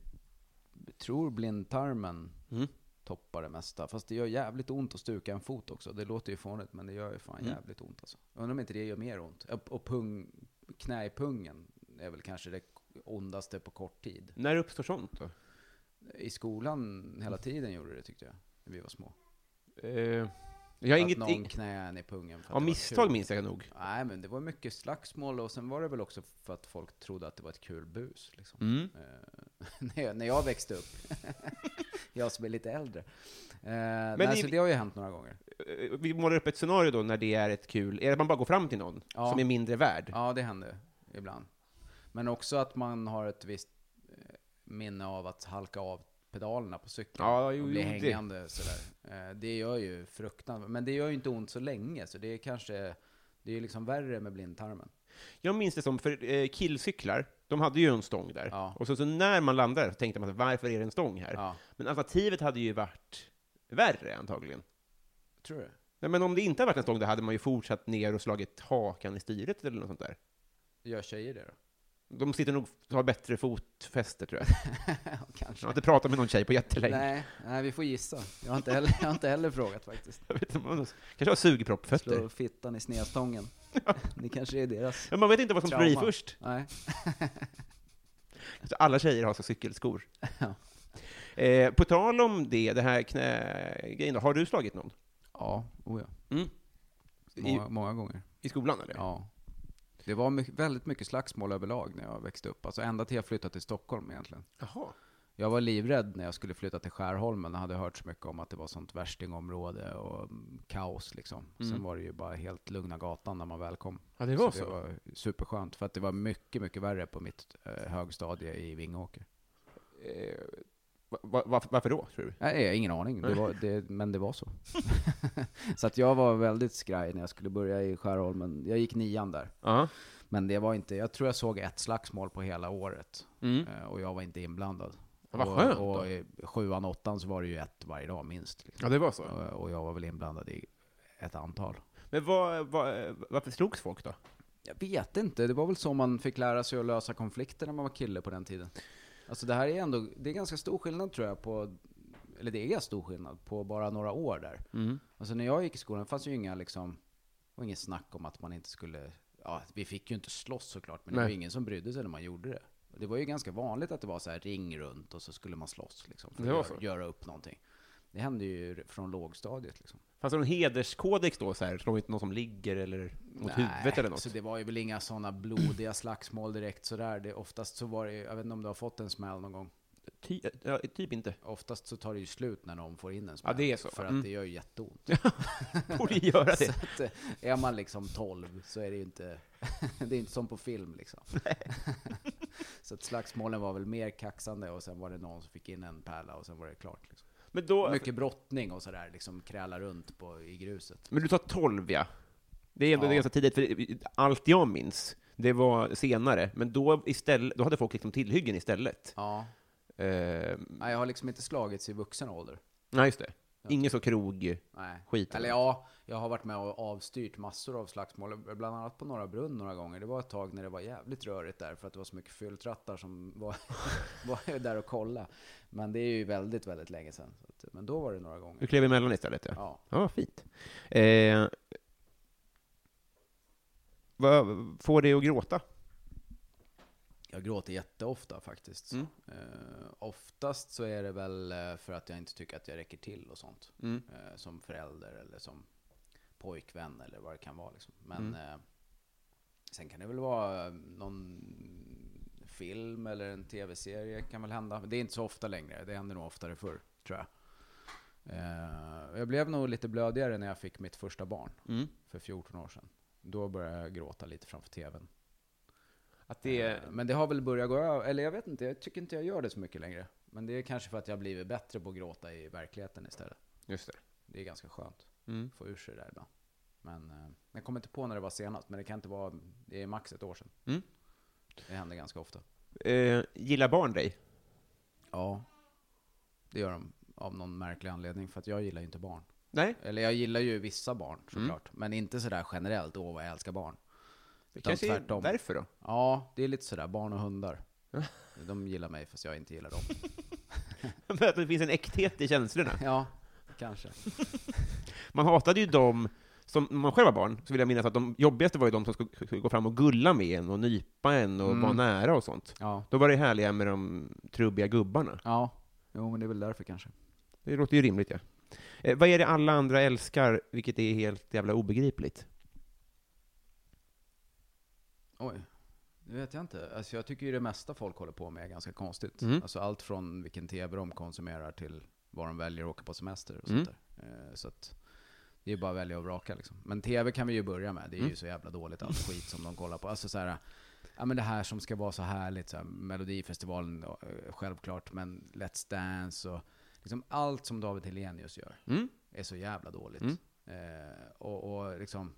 tror blindtarmen Mm. toppar det mesta. Fast det gör jävligt ont att stuka en fot också. Det låter ju fånigt, men det gör ju fan Mm. jävligt ont alltså. Jag Undrar om inte det gör mer ont. Och- Och pung, knä i pungen är väl kanske det ondaste på kort tid. När uppstår sånt då? I skolan hela Mm. tiden gjorde det tyckte jag, när vi var små. Eh, jag har att inget... någon ing- knäade en i pungen. För att Ja, det var misstag kul. minns jag nog. Nej, men det var mycket slagsmål och sen var det väl också för att folk trodde att det var ett kul bus. Liksom. <laughs> Eh, när, jag, när jag växte upp. <laughs> jag som är lite äldre. Men nej, i- så det har ju hänt några gånger. Eh, Vi målar upp ett scenario då när det är ett kul, är det att man bara går fram till någon Ja. som är mindre värd? Ja, det händer ibland. Men också att man har ett visst eh, minne av att halka av pedalerna på cykeln Ja, jo, och bli jo, det- hängande sådär. Eh, Det gör ju fruktansvärt, men det gör ju inte ont så länge, så det är kanske, det är ju liksom värre med blindtarmen. Jag minns det som, för eh, killcyklar, de hade ju en stång där. Ja. Och så, så när man landade så tänkte man, varför är det en stång här? Ja, Men alternativet hade ju varit värre antagligen. tror du? Nej, men om det inte hade varit en stång där hade man ju fortsatt ner och slagit hakan i styret eller något sånt där. Gör <laughs> tjejer det då? De sitter nog och har bättre fotfäste tror jag. Kanske. Jag har inte pratat med någon tjej på jättelänge. Nej, nej, vi får gissa. Jag har inte heller, jag har inte heller frågat faktiskt. Jag vet inte, man kanske har sugproppfötter. Slå fittan i snedstången. <laughs> Det kanske är deras. Men man vet inte vad som blir Trauma. först. Nej. Så alla tjejer har så cykelskor. <laughs> Ja. Eh, på tal om det, det här knägrejen då, har du slagit någon? Ja, oh ja. I, Många, många gånger. I skolan eller? Ja. Det var mycket, väldigt mycket slagsmål överlag när jag växte upp. Alltså ända till jag flyttade till Stockholm egentligen. Jaha. Jag var livrädd när jag skulle flytta till Skärholmen. Jag hade hört så mycket om att det var sånt värstingområde och mm, kaos liksom. Sen var det ju bara helt lugna gatan när man väl kom. Ja, Mm. det var så. Det var superskönt för att det var mycket, mycket värre på mitt eh, högstadie i Vingåker. Eh, va, va, varför- varför då, tror du? Nej, jag har ingen aning, det var, det, men det var så. <laughs> så att jag var väldigt skraj när jag skulle börja i Skärholmen. Jag gick nian där. Ja. Men det var inte, jag tror jag såg ett slagsmål på hela året. Mm. Eh, Och jag var inte inblandad. Vad skönt och, då. och i sjuan, åttan så var det ju ett varje dag minst. Liksom. Ja, det var så. Eh, Och jag var väl inblandad i ett antal. Men vad, vad, varför slogs folk då? Jag vet inte, det var väl så man fick lära sig att lösa konflikter när man var kille på den tiden. Alltså det här är ändå, det är ganska stor skillnad tror jag på, eller det är stor skillnad på bara några år där. Mm. Alltså när jag gick i skolan fanns ju inga liksom, det var inget snack om att man inte skulle, ja vi fick ju inte slåss såklart, men det var Nej. ju ingen som brydde sig när man gjorde det. Det var ju ganska vanligt att det var så här ring runt och så skulle man slåss liksom, för Det var att så. göra, göra upp någonting. Det hände ju från lågstadiet liksom. Fanns det någon hederskodex då, så här, slå inte någon som ligger eller mot Nej, huvudet eller något? Så det var ju väl inga sådana blodiga slagsmål direkt sådär. Det, oftast så var det ju, jag vet inte om du har fått en smäll någon gång. Ty, ja, typ inte. Oftast så tar det ju slut när någon får in en smäll. Ja, det är så. För att Mm. det gör ju jätteont. <laughs> Borde ju göra så <laughs> det. att, eh, är man liksom 12 så är det ju inte, <laughs> det är inte som på film liksom. <laughs> så att slagsmålen var väl mer kaxande och sen var det någon som fick in en pärla och sen var det klart. Liksom. Men, då, Mycket brottning och sådär, liksom kräla runt på, i gruset. men du tar 12, ja. Det är ändå Ja. ganska tidigt, för allt jag minns, det var senare, men då, istället, då hade folk liksom tillhyggen istället. Ja, Eh, Nej, jag har liksom inte slagits i vuxen ålder. nej, just det. Inget så krog... Nej. Skit. Eller ja, jag har varit med och avstyrt massor av slagsmål. Bland annat på Norra Brunn några gånger. Det var ett tag när det var jävligt rörigt där för att det var så mycket fylltrattar som var, <laughs> var där och kolla. Men det är ju väldigt, väldigt länge sedan. Så att, men då var det några Du gånger. klev emellan istället, ja. Ja. Ja, fint. Eh, vad får dig att gråta? Jag gråter jätteofta faktiskt. Mm. Eh, oftast så är det väl eh, för att jag inte tycker att jag räcker till och sånt. Mm. Eh, som förälder eller som pojkvän eller vad det kan vara. Liksom. Men Mm. eh, sen kan det väl vara eh, någon film eller en tv-serie kan väl hända. Men det är inte så ofta längre. Det hände nog oftare förr, tror jag. Eh, jag blev nog lite blödigare när jag fick mitt första barn Mm. för 14 år sedan. Då började jag gråta lite framför tvn. Att det är... Eh, Men det har väl börjat gå över, eller jag vet inte, jag tycker inte jag gör det så mycket längre. Men det är kanske för att jag har blivit bättre på att gråta i verkligheten istället. Just det. Det är ganska skönt Mm. att få ur sig det där ibland. Men eh, jag kommer inte på när det var senast, men det kan inte vara, det är max ett år sedan. Mm. Det händer ganska ofta. Eh, gillar barn dig? Ja, det gör de av någon märklig anledning, för att jag gillar ju inte barn. Nej, Eller jag gillar ju vissa Mm. barn såklart, men inte sådär generellt, åh vad jag älskar barn. det Utan kanske tvärtom. är därför då. <laughs> Ja, det är lite sådär, barn och hundar. De gillar mig fast jag inte gillar dem. För att det finns en äkthet i känslorna. Ja, kanske. Man hatade ju dem, som när man själv var barn, så vill jag minnas att de jobbigaste var ju de som skulle, skulle gå fram och gulla med en och nypa en och Mm. vara nära och sånt. Ja. Då var det härliga med de trubbiga gubbarna. Ja, jo men det är väl därför kanske. Det låter ju rimligt, ja. Eh, vad är det alla andra älskar, vilket är helt jävla obegripligt? Oj, det vet jag inte. Alltså jag tycker ju det mesta folk håller på med är ganska konstigt. Mm. Alltså allt från vilken tv de konsumerar till var de väljer att åka på semester och Mm. sånt där. Eh, Så att det är bara att välja och vraka liksom. Men tv kan vi ju börja med. Det är Mm. ju så jävla dåligt allt skit som de kollar på. Alltså så här, ja men det här som ska vara så härligt, så här, Melodifestivalen eh, självklart, men Let's Dance och liksom allt som David Hellenius gör. Mm. är så jävla dåligt. Mm. Eh, och, och liksom,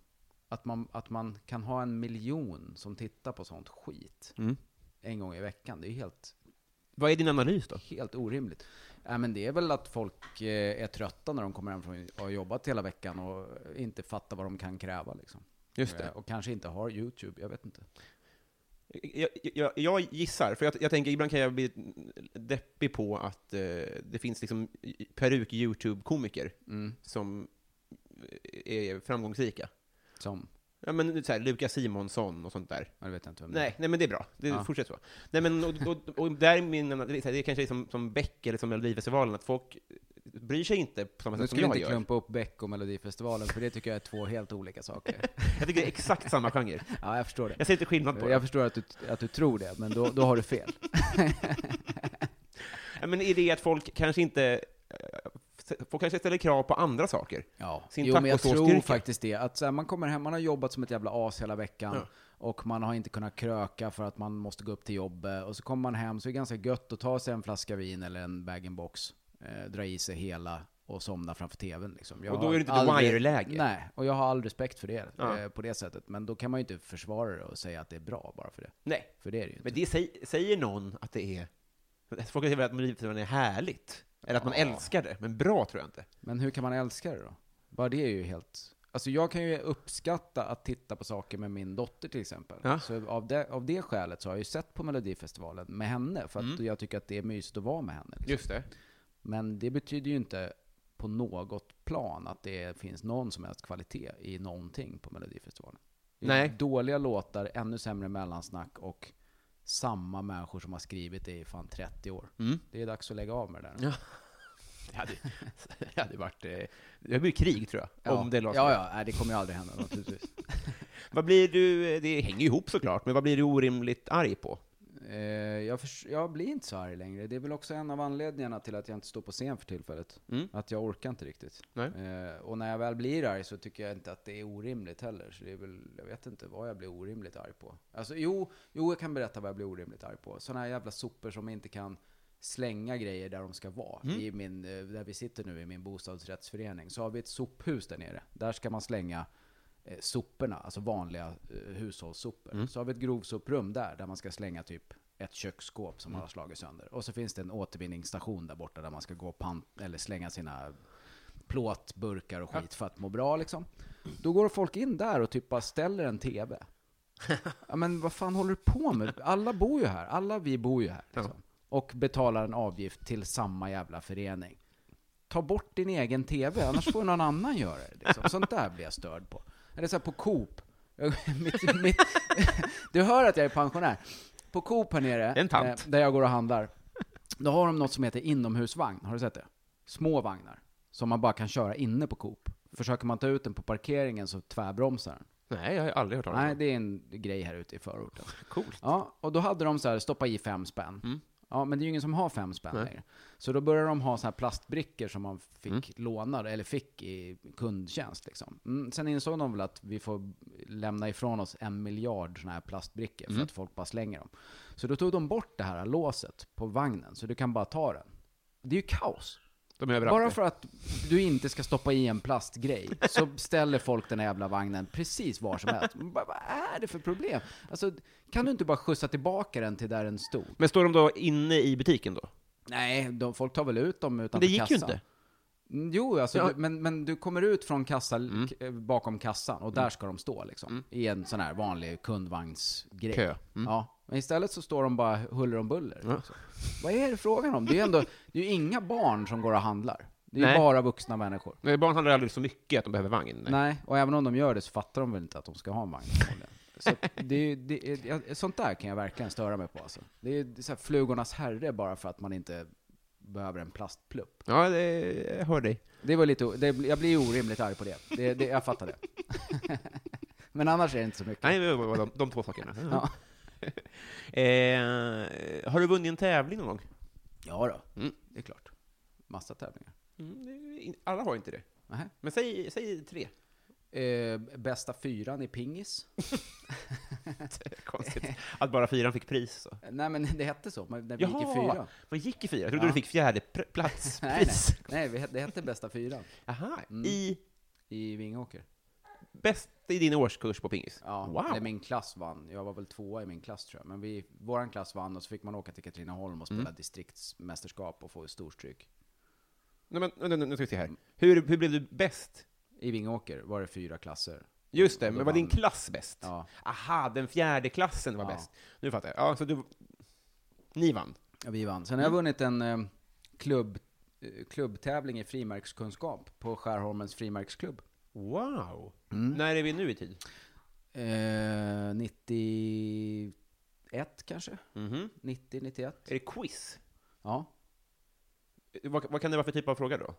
att man, att man kan ha en miljon som tittar på sånt skit Mm. en gång i veckan, det är ju helt, Vad är din analys då? helt orimligt. Äh, men det är väl att folk eh, är trötta när de kommer hem från och har jobbat hela veckan och inte fattar vad de kan kräva. Liksom. Just det. Eh, och kanske inte har YouTube, jag vet inte. Jag, jag, jag gissar, för jag, jag tänker ibland kan jag bli deppig på att eh, det finns liksom peruk-YouTube-komiker Mm. som eh, är framgångsrika. Som, Ja, men så här, Lukas Simonsson och sånt där. ja, det vet jag inte vem det Nej, nej men det är bra. Det Mm. Ja. Fortsätt så. Nej, men, och, och, och där är min, det är så här, det kanske är som, som Beck eller som Melodifestivalen, att folk bryr sig inte på samma Nu sätt ska som vi jag inte gör. klumpa upp Beck och Melodifestivalen, för det tycker jag är två helt <laughs> olika saker. Jag tycker det är exakt samma genre. Ja, jag förstår det. Jag ser inte skillnad på <laughs> Jag det. förstår att du, att du tror det, men då, då har du fel. Ja, men är det att folk kanske inte... eh, Folk kanske ställer krav på andra saker. Ja. Sin jo, men jag tacosåsstyrka. tror faktiskt det. Att så här, man kommer hem, man har jobbat som ett jävla as hela veckan. Ja. Och man har inte kunnat kröka för att man måste gå upp till jobbet. Och så kommer man hem så är det ganska gött att ta sig en flaska vin eller en bag-in-box. Eh, dra i sig hela och somna framför tvn. Liksom. Jag Och då är har det inte The aldrig- Wire-läge. Nej, och jag har all respekt för det Ja. eh, på det sättet. Men då kan man ju inte försvara det och säga att det är bra bara för det. Nej, För det är det ju inte. men det säg- säger någon att det är... Folk säger väl att Melodifestivalen är härligt? Eller att man älskar det, men bra tror jag inte. Men hur kan man älska det då? Bara det är ju helt... Alltså jag kan ju uppskatta att titta på saker med min dotter till exempel. Ja. Så av det, av det skälet så har jag ju sett på Melodifestivalen med henne, för att Mm. jag tycker att det är mysigt att vara med henne. Liksom. Just det. Men det betyder ju inte på något plan att det finns någon som helst kvalitet i någonting på Melodifestivalen. Det är Nej. Dåliga låtar, ännu sämre mellansnack och samma människor som har skrivit det i fan 30 år. Mm. Det är dags att lägga av med det där. Ja. Det hade, <laughs> det hade varit... eh, Det blir krig, tror jag, om det lades Ja, ner. ja, nej, det kommer ju aldrig hända naturligtvis. Vad blir du... eh, Det hänger ju ihop såklart, men vad blir du orimligt arg på? Eh, jag, förs- jag blir inte så arg längre. Det är väl också en av anledningarna till att jag inte står på scen för tillfället. Mm. Att jag orkar inte riktigt. Nej. Eh, och när jag väl blir arg så tycker jag inte att det är orimligt heller. Så det är väl, jag vet inte vad jag blir orimligt arg på. Alltså jo, jo jag kan berätta vad jag blir orimligt arg på. Sådana här jävla sopor som inte kan slänga grejer där de ska vara. I min, eh, där vi sitter nu i min bostadsrättsförening så har vi ett sophus där nere. Där ska man slänga eh, soporna, alltså vanliga eh, hushållssopor. Så har vi ett grovsoprum där, där man ska slänga typ ett köksskåp som har slagit sönder. Och så finns det en återvinningsstation där borta där man ska gå och pant- eller slänga sina plåtburkar och skit för att må bra liksom. Då går folk in där och typ bara ställer en TV. Ja, men vad fan håller du på med? Alla bor ju här, alla vi bor ju här. Liksom. Och betalar en avgift till samma jävla förening. Ta bort din egen TV, annars får någon annan göra det. Liksom. Sånt där blir jag störd på. Eller så här på Coop. <laughs> mitt, mitt, du hör att jag är pensionär. På Coop här nere, Det är en tant. eh, där jag går och handlar, då har de något som heter inomhusvagn. Har du sett det? Små vagnar. Som man bara kan köra inne på Coop. Försöker man ta ut den på parkeringen så tvärbromsar den. Nej, jag har aldrig hört talas Nej, om det är en grej här ute i förorten. Coolt. Ja, och då hade de så här, stoppa i fem spänn. Ja, men det är ju ingen som har fem spänn längre. Så då började de ha så här plastbrickor som man fick låna, eller fick i kundtjänst liksom. Mm, sen insåg de väl att vi får lämna ifrån oss en miljard sådana här plastbrickor för att folk bara slänger dem. Så då tog de bort det här låset på vagnen, så du kan bara ta den. Det är ju kaos. De är överallt. Bara för att du inte ska stoppa i en plastgrej så ställer folk den här jävla vagnen precis var som helst. Man bara, Vad är det för problem? Alltså, kan du inte bara skjutsa tillbaka den till där den stod? Men står de då inne i butiken då? Nej, de, folk tar väl ut dem Men utanför det gick ju kassan. inte. Mm, Jo, alltså, Ja. du, men, men du kommer ut från kassa, Mm. k- bakom kassan och där ska de stå liksom. I en sån här vanlig kundvagnsgrej. Kö. Mm. Ja. Men istället så står de bara huller om buller. liksom. Vad är det frågan om? Det är ju ändå, det är ju inga barn som går och handlar. Det är ju Nej. bara vuxna människor. Nej, barn handlar aldrig så mycket att de behöver vagn. Nej. och även om de gör det så fattar de väl inte att de ska ha en vagn. förmodligen. <laughs> Så att det, är- det, är- ja, sånt där kan jag verkligen störa mig på. Alltså. Det är ju så här flugornas herre bara för att man inte behöver en plastplupp. Ja, det, jag hör dig. Det var lite, o- det, jag blir orimligt arg på det. det, det jag fattar det. <laughs> Men annars är det inte så mycket. Nej, det var de, de två sakerna. <laughs> Ja. <laughs> Eh, har du vunnit en tävling någon gång? Ja då, Mm. det är klart. Massa tävlingar. alla har inte Mm, det. Nähä. Men säg, säg tre. <laughs> Eh, bästa fyran i pingis? Konstigt. <laughs> Att bara fyran fick pris. Så. Nej men det hette så, men när vi gick i fyran. man gick i fyra. Jag trodde Ja. du fick fjärde pr- plats. <laughs> Nej, pris. nej, nej vi hette- det hette bästa fyran Aha, Mm. i i Vingåker. bäst i din årskurs på pingis? Ja, eller wow! min klass vann. Jag var väl tvåa i min klass tror jag. Men vi, våran klass vann och så fick man åka till Katrineholm och spela Mm. distriktsmästerskap och få storstryk. Nej, men, nu, nu, nu ska vi se Mm. här. Hur, hur blev du bäst? I Vingåker var det fyra klasser. Just det, Och då men var din vann- klass bäst? Ja, Aha, den fjärde klassen var Ja. bäst. Nu fattar jag. Ja, så du... Ni vann. ja, vi vann. Sen har jag Mm. vunnit en eh, klubb, eh, klubbtävling i frimärkskunskap på Skärholmens frimärksklubb. Wow! Mm. När är vi nu i tid? Eh, 91 kanske? Mhm. 90, 91? Är det quiz? Ja. Vad, vad kan det vara för typ av fråga då?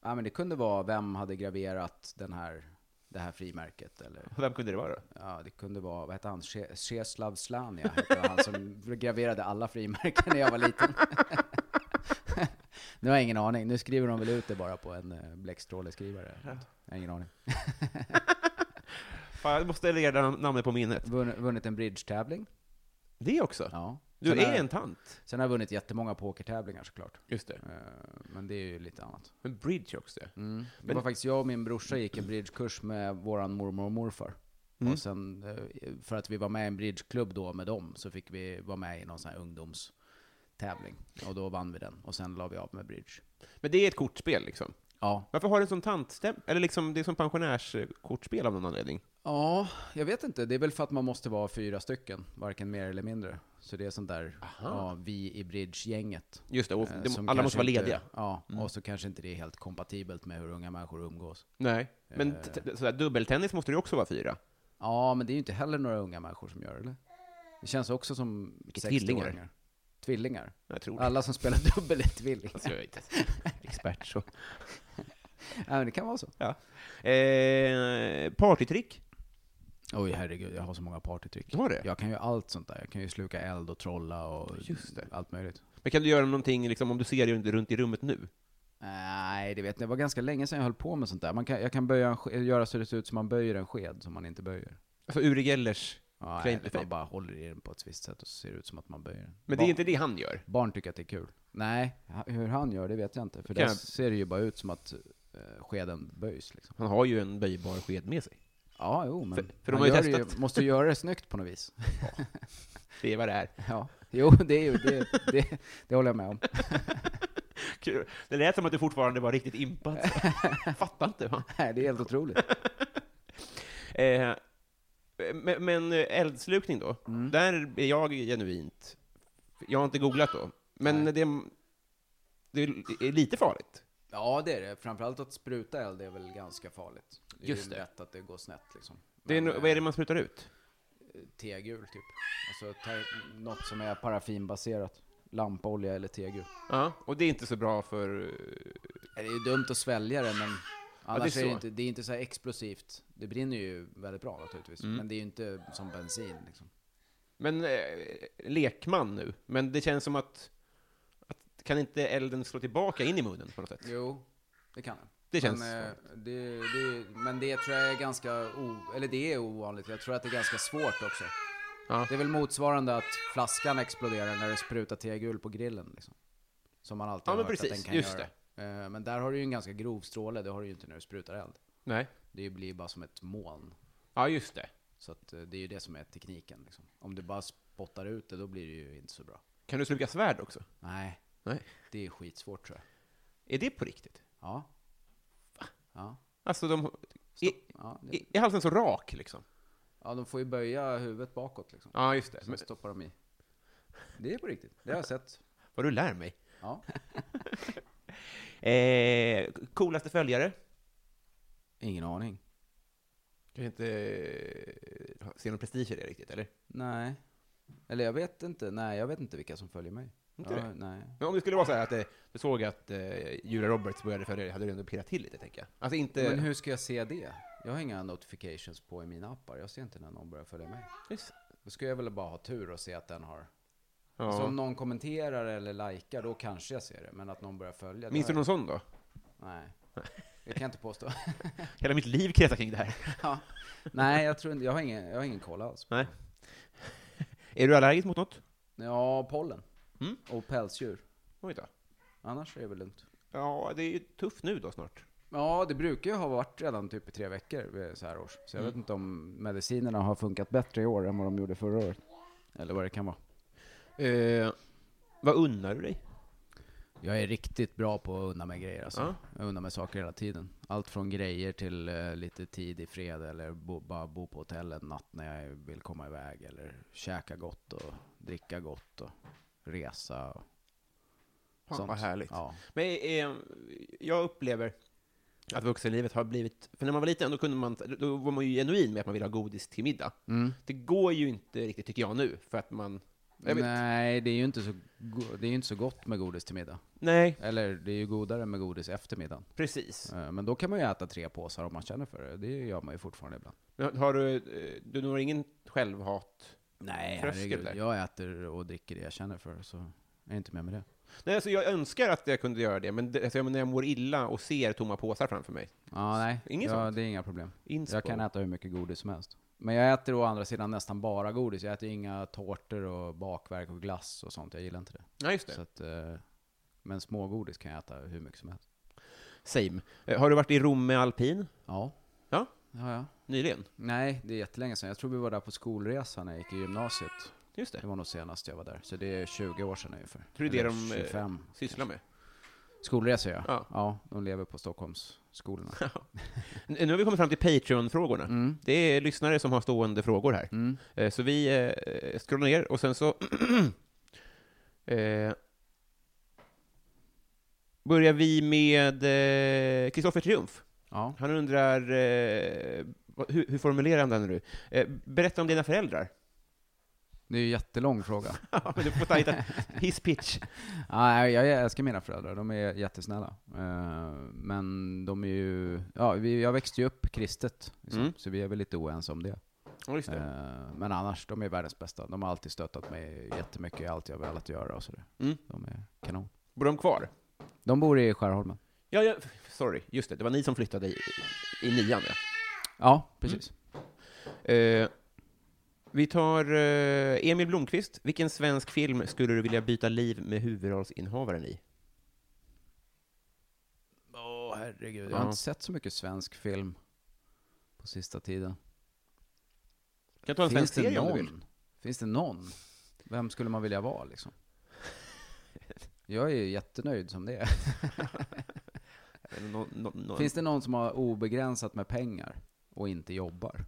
ja, men det kunde vara vem hade graverat den här, det här frimärket eller Vem kunde det vara då? Ja, det kunde vara, vad hette han? Che- Czeslaw Slania hette han som <laughs> graverade alla frimärken när jag var liten. <laughs> nu har jag ingen aning, nu skriver de väl ut det bara på en eh, bläckstråleskrivare. Jag har ingen aning. Fan, jag måste lägga namnet på minnet. Vunn- Vunnit en bridge-tävling. Det också? Ja. Du sen, har- är en tant. sen har jag vunnit jättemånga pokertävlingar såklart. Just det. Eh, Men det Mm. är ju lite annat. Men bridge också. Det var faktiskt jag och min brorsa gick en bridgekurs med våran mormor och morfar. Och sen, eh, för att vi var med i en bridgeklubb då med dem, så fick vi vara med i någon sån här ungdomstävling. Och då vann vi den. Och sen la vi av med bridge. Men det är ett kortspel liksom. Ja. Varför har det en sån tantstäm... Eller liksom, det är som pensionärskortspel av någon anledning. Ja, jag vet inte. Det är väl för att man måste vara fyra stycken, varken mer eller mindre. Så det är sånt där, ja, vi i bridge-gänget. Just det, och eh, det, som alla kanske måste vara inte- lediga. Ja, och så kanske inte det är helt kompatibelt med hur unga människor umgås. Nej. Men t- t- sådär, dubbeltennis måste det ju också vara fyra. Ja, men det är ju inte heller några unga människor som gör det, eller? Det känns också som Vilka 60-åringar. tvillingar. Tvillingar. Jag tror det. Alla som spelar dubbel är <laughs> tvillingar. Alltså, <laughs> jag är inte expert <laughs> så. Ja, men det kan vara så. Ja. Eh, partytrick? Oj, herregud, jag har så många partytrick. Du har det? Jag kan ju allt sånt där. Jag kan ju sluka eld och trolla och Just det. allt möjligt. Men kan du göra någonting, liksom, om du ser dig runt i rummet nu? Nej, det vet ni. Det var ganska länge sedan jag höll på med sånt där. Man kan, jag kan böja en, ske- göra så det ser ut som man böjer en sked som man inte böjer. Alltså Uri Gellers? Ja, Flame eller att to man flame. bara håller i den på ett visst sätt och så ser det ut som att man böjer den. Men det är inte det han gör. Barn tycker att det är kul. Nej, ha- hur han gör det vet jag inte. För Kan där jag- ser det ju bara ut som att eh, skeden böjs liksom. Han har ju en böjbar sked med sig. Ja, jo, men För- för de han har ju gör det testat. ju, måste ju göra det snyggt på något <laughs> vis. Det är vad det är. Ja. Jo, det är ju, det, det, det håller jag med om. <laughs> Kul. Det lät som att du fortfarande var riktigt impad. <laughs> Fattar inte. Va? Nej, det är helt otroligt. Eh, men, men eh, eldslukning då? Där är jag genuint. Jag har inte googlat då. Men det, det är lite farligt. Ja, det är det. Framförallt att spruta eld är väl ganska farligt. Det är Just ju det. lätt att det går snett liksom. Det är, Men, no- eh, vad är det man sprutar ut? Tegul typ. Alltså te- något som är paraffinbaserat. Lampolja eller tegul. Ja, och det är inte så bra för... eh, Det är ju dumt att svälja det men annars det är är det, så. inte, det är inte så här explosivt. Det brinner ju väldigt bra naturligtvis. Men det är ju inte som bensin liksom. Men eh, lekman nu. Men det känns som att, att... Kan inte elden slå tillbaka in i munnen på något sätt? Jo, det kan den. Det känns men, eh, det, det, men det tror jag är ganska o, eller det är ovanligt. Jag tror att det är ganska svårt också. Ja. Det är väl motsvarande att flaskan exploderar när det sprutar tegul på grillen. Liksom. Som man alltid Ja, har men hört att precis. den kan Just göra. Eh, Men där har du ju en ganska grov stråle, det har du ju inte när du sprutar eld. Nej. Det blir bara som ett moln. Ja, just det. Så att eh, det är ju det som är tekniken. Liksom. Om du bara spottar ut det, då blir det ju inte så bra. Kan du sluka svärd också? Nej, Nej. det är skitsvårt tror jag. Är det på riktigt? Ja. Ja. Alltså, de... Är, Ja, det, är, är halsen så rak, liksom? ja, de får ju böja huvudet bakåt liksom. Ja, just det. Sen Men, stoppar de i. Det är på riktigt, det har jag sett. vad du lär mig. Ja. Eh, coolaste följare? Ingen aning. Kanske inte eh, ser någon prestige i det riktigt, eller? Nej. Eller jag vet inte, nej jag vet inte vilka som följer mig. Inte ja, det? Nej. Men om det skulle vara så här att eh, du såg att eh, Julia Roberts började följa dig, hade du ändå pirrat till lite, tänker jag. Alltså inte... Men hur ska jag se det? Jag har inga notifications på i mina appar, jag ser inte när någon börjar följa mig. Just- Då ska jag väl bara ha tur och se att den har... Ja. Så om någon kommenterar eller likar, då kanske jag ser det. Men att någon börjar följa... det Minns har du någon sån då? jag- Nej. Det kan jag inte påstå. <laughs> Hela mitt liv kretsar kring det <laughs> här. ja. Nej, jag tror inte... Jag har ingen, jag har ingen koll alls. Nej. Är du allergisk mot något? Ja, pollen. Mm. Och pälsdjur. Oj då. Annars är det väl lugnt. Ja, det är ju tufft nu då snart. Ja, det brukar ju ha varit redan typ i tre veckor vid så här års. Så Mm. jag vet inte om medicinerna har funkat bättre i år än vad de gjorde förra året. Eller vad det kan vara. Eh, vad unnar du dig? Jag är riktigt bra på att unna mig grejer alltså. Ja. Jag unnar mig saker hela tiden. Allt från grejer till eh, lite tid i fred eller bo, bara bo på hotell en natt när jag vill komma iväg. Eller käka gott och dricka gott och resa och Fan, sånt. vad härligt. Ja. Men eh, jag upplever att vuxenlivet har blivit, för när man var liten då, kunde man, då var man ju genuin med att man ville ha godis till middag. Mm. Det går ju inte riktigt, tycker jag nu, för att man... Jag vet, nej. Nej, det är ju inte så, go- det är ju inte så gott med godis till middag. Eller det är ju godare med godis efter middagen. precis. Eh, Men då kan man ju äta tre påsar om man känner för det. Det gör man ju fortfarande ibland. Men Har du, eh, du når ingen självhat? Nej, Tröskel herregud. där. Jag äter och dricker det jag känner för, så jag är inte med med det. Nej, alltså jag önskar att jag kunde göra det, men det, alltså, jag menar, när jag mår illa och ser tomma påsar framför mig. Ja, nej. Inget ja, sånt? det är inga problem. Inspo. Jag kan äta hur mycket godis som helst. Men jag äter å andra sidan nästan bara godis. Jag äter inga tårtor och bakverk och glass och sånt. Jag gillar inte det. Ja, just Så det. att, eh, men smågodis kan jag äta hur mycket som helst. Same. Eh, Har du varit i Rom med alpin? Ja. Ja. Ja, ja. Nyligen? Nej, det är jättelänge sedan. Jag tror vi var där på skolresa när jag gick i gymnasiet. Just Det det. var nog senast jag var där. Så det är 20 år sedan ungefär. Tror du det Eller de, eh, 25. Sysslar med. Skolresor ja. Ja. ja. de lever på Stockholms <laughs> skolorna. N- Nu har vi kommit fram till Patreon-frågorna. Mm. Det är lyssnare som har stående frågor här. Eh, Så vi eh, scrollar ner och sen så... <clears throat> eh, börjar vi med Kristoffer Triumf. Ja. Han undrar... Eh, vad- hur, hur formulerar han den nu? Eh, berätta om dina föräldrar. <laughs> Det är ju en jättelång fråga. Ja, men du får ta hit <laughs> his pitch. Nej, jag älskar mina föräldrar, de är jättesnälla. Eh, Men de är ju, ja, vi, jag växte ju upp kristet, liksom, Mm. så vi är väl lite oense om det. Ja, just det. Eh, Men annars, de är världens bästa. De har alltid stöttat mig jättemycket i allt jag har velat göra och sådär. Mm. De är kanon. Bor de kvar? De bor i Skärholmen. Ja, ja, sorry. Just det, det var ni som flyttade i, i nian, ja. mm. Ja, precis. Eh, vi tar eh, Emil Blomqvist. Vilken svensk film skulle du vilja byta liv med huvudrollsinnehavaren i? Åh herregud, jag har Ja. inte sett så mycket svensk film på sista tiden. Kan ta en Finns svensk det serie om du vill. <laughs> någon? Finns det någon? Vem skulle man vilja vara liksom? Jag är ju jättenöjd som det är. Eller nå- nå- nå- Finns det någon som har obegränsat med pengar och inte jobbar?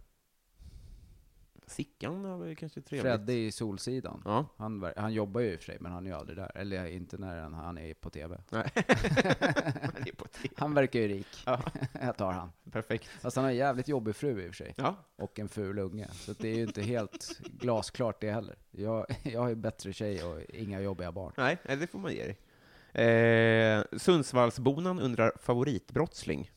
Sickan har väl kanske trevligt. Fredde i Solsidan. Ja. Han, ver- han jobbar ju i och för sig, men han är ju aldrig där. Eller inte när han, han är <laughs> på TV. Nej. Det är på t- Han verkar ju rik. Ja. <laughs> Jag tar han. Perfekt. Fast han har en jävligt jobbig fru i och för sig. Ja. Och en ful unge. Så det är ju inte helt glasklart det heller. Jag, jag har ju bättre tjej och inga jobbiga barn. Nej, nej, det får man ge dig. Eh, Sundsvallsbonan undrar favoritbrottsling.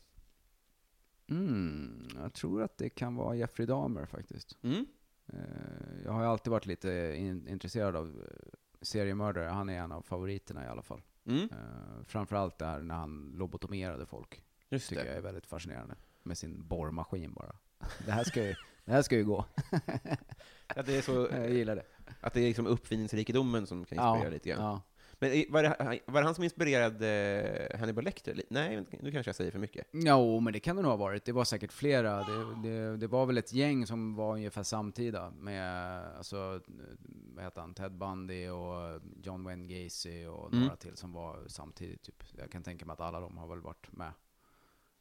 Mm, jag tror att det kan vara Jeffrey Dahmer faktiskt. Mm. Eh, Jag har ju alltid varit lite in, intresserad av eh, seriemördare. Han är en av favoriterna i alla fall. Mm. Eh, Framförallt det här när han lobotomerade folk. Just tycker jag det. är väldigt fascinerande. Med sin borrmaskin bara. <laughs> Det här ska ju, det här ska <laughs> ju gå. Att det är, så, Jag gillar det. att det är liksom uppfinningsrikedomen som kan inspirera lite grann. ja. Men i- var det, var det han som inspirerade eh, Hannibal Lecter? Li- Nej, vänta, nu kanske jag säger för mycket. Jo, men det kan det nog ha varit. Det var säkert flera. Det, det, det var väl ett gäng som var ungefär samtida med, alltså, vad heter han, Ted Bundy och John Wayne Gacy och några Mm. till som var samtidigt. Typ. Jag kan tänka mig att alla de har väl varit med.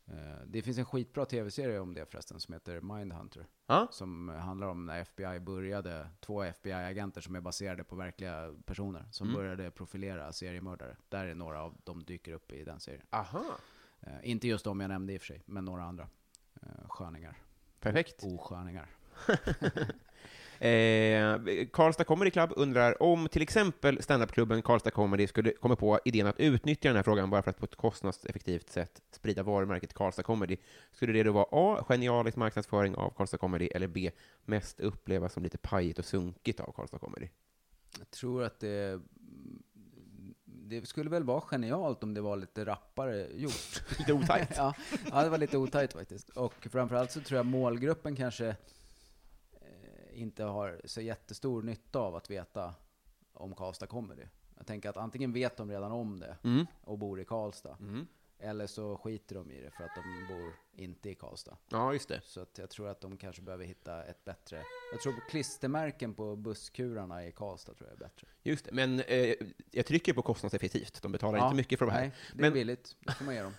Eh, Det finns en skitbra tv-serie om det förresten som heter Mindhunter. Ja. Som handlar om när FBI började, två FBI-agenter som är baserade på verkliga personer. Som Mm. började profilera seriemördare. Där är några av dem dyker upp i den serien. Aha. Eh, inte just de jag nämnde i och för sig, men några andra. Eh, sköningar. Perfekt. Osköningar. Eh, Karlstad Comedy Club undrar om till exempel standupklubben Karlstad Comedy skulle komma på idén att utnyttja den här frågan bara för att på ett kostnadseffektivt sätt sprida varumärket Karlstad Comedy. Skulle det då vara A. Genialisk marknadsföring av Karlstad Comedy eller B. Mest upplevas som lite pajigt och sunkigt av Karlstad Comedy? Jag tror att det... mm, Det skulle väl vara genialt om det var lite rappare gjort. <laughs> Lite otajt. ja, ja, det var lite otajt faktiskt. Och framförallt så tror jag målgruppen kanske eh, inte har så jättestor nytta av att veta om Karlstad Comedy. Jag tänker att antingen vet de redan om det Mm. och bor i Karlstad. Mm. Eller så skiter de i det för att de bor inte i Karlstad. <laughs> Ja, just det. Så att jag tror att de kanske behöver hitta ett bättre... Jag tror klistermärken på busskurarna i Karlstad tror jag är bättre. Just det. Men eh, jag trycker på kostnadseffektivt. De betalar inte mycket för de här. Nej, det Men- är billigt. Det får man ge dem.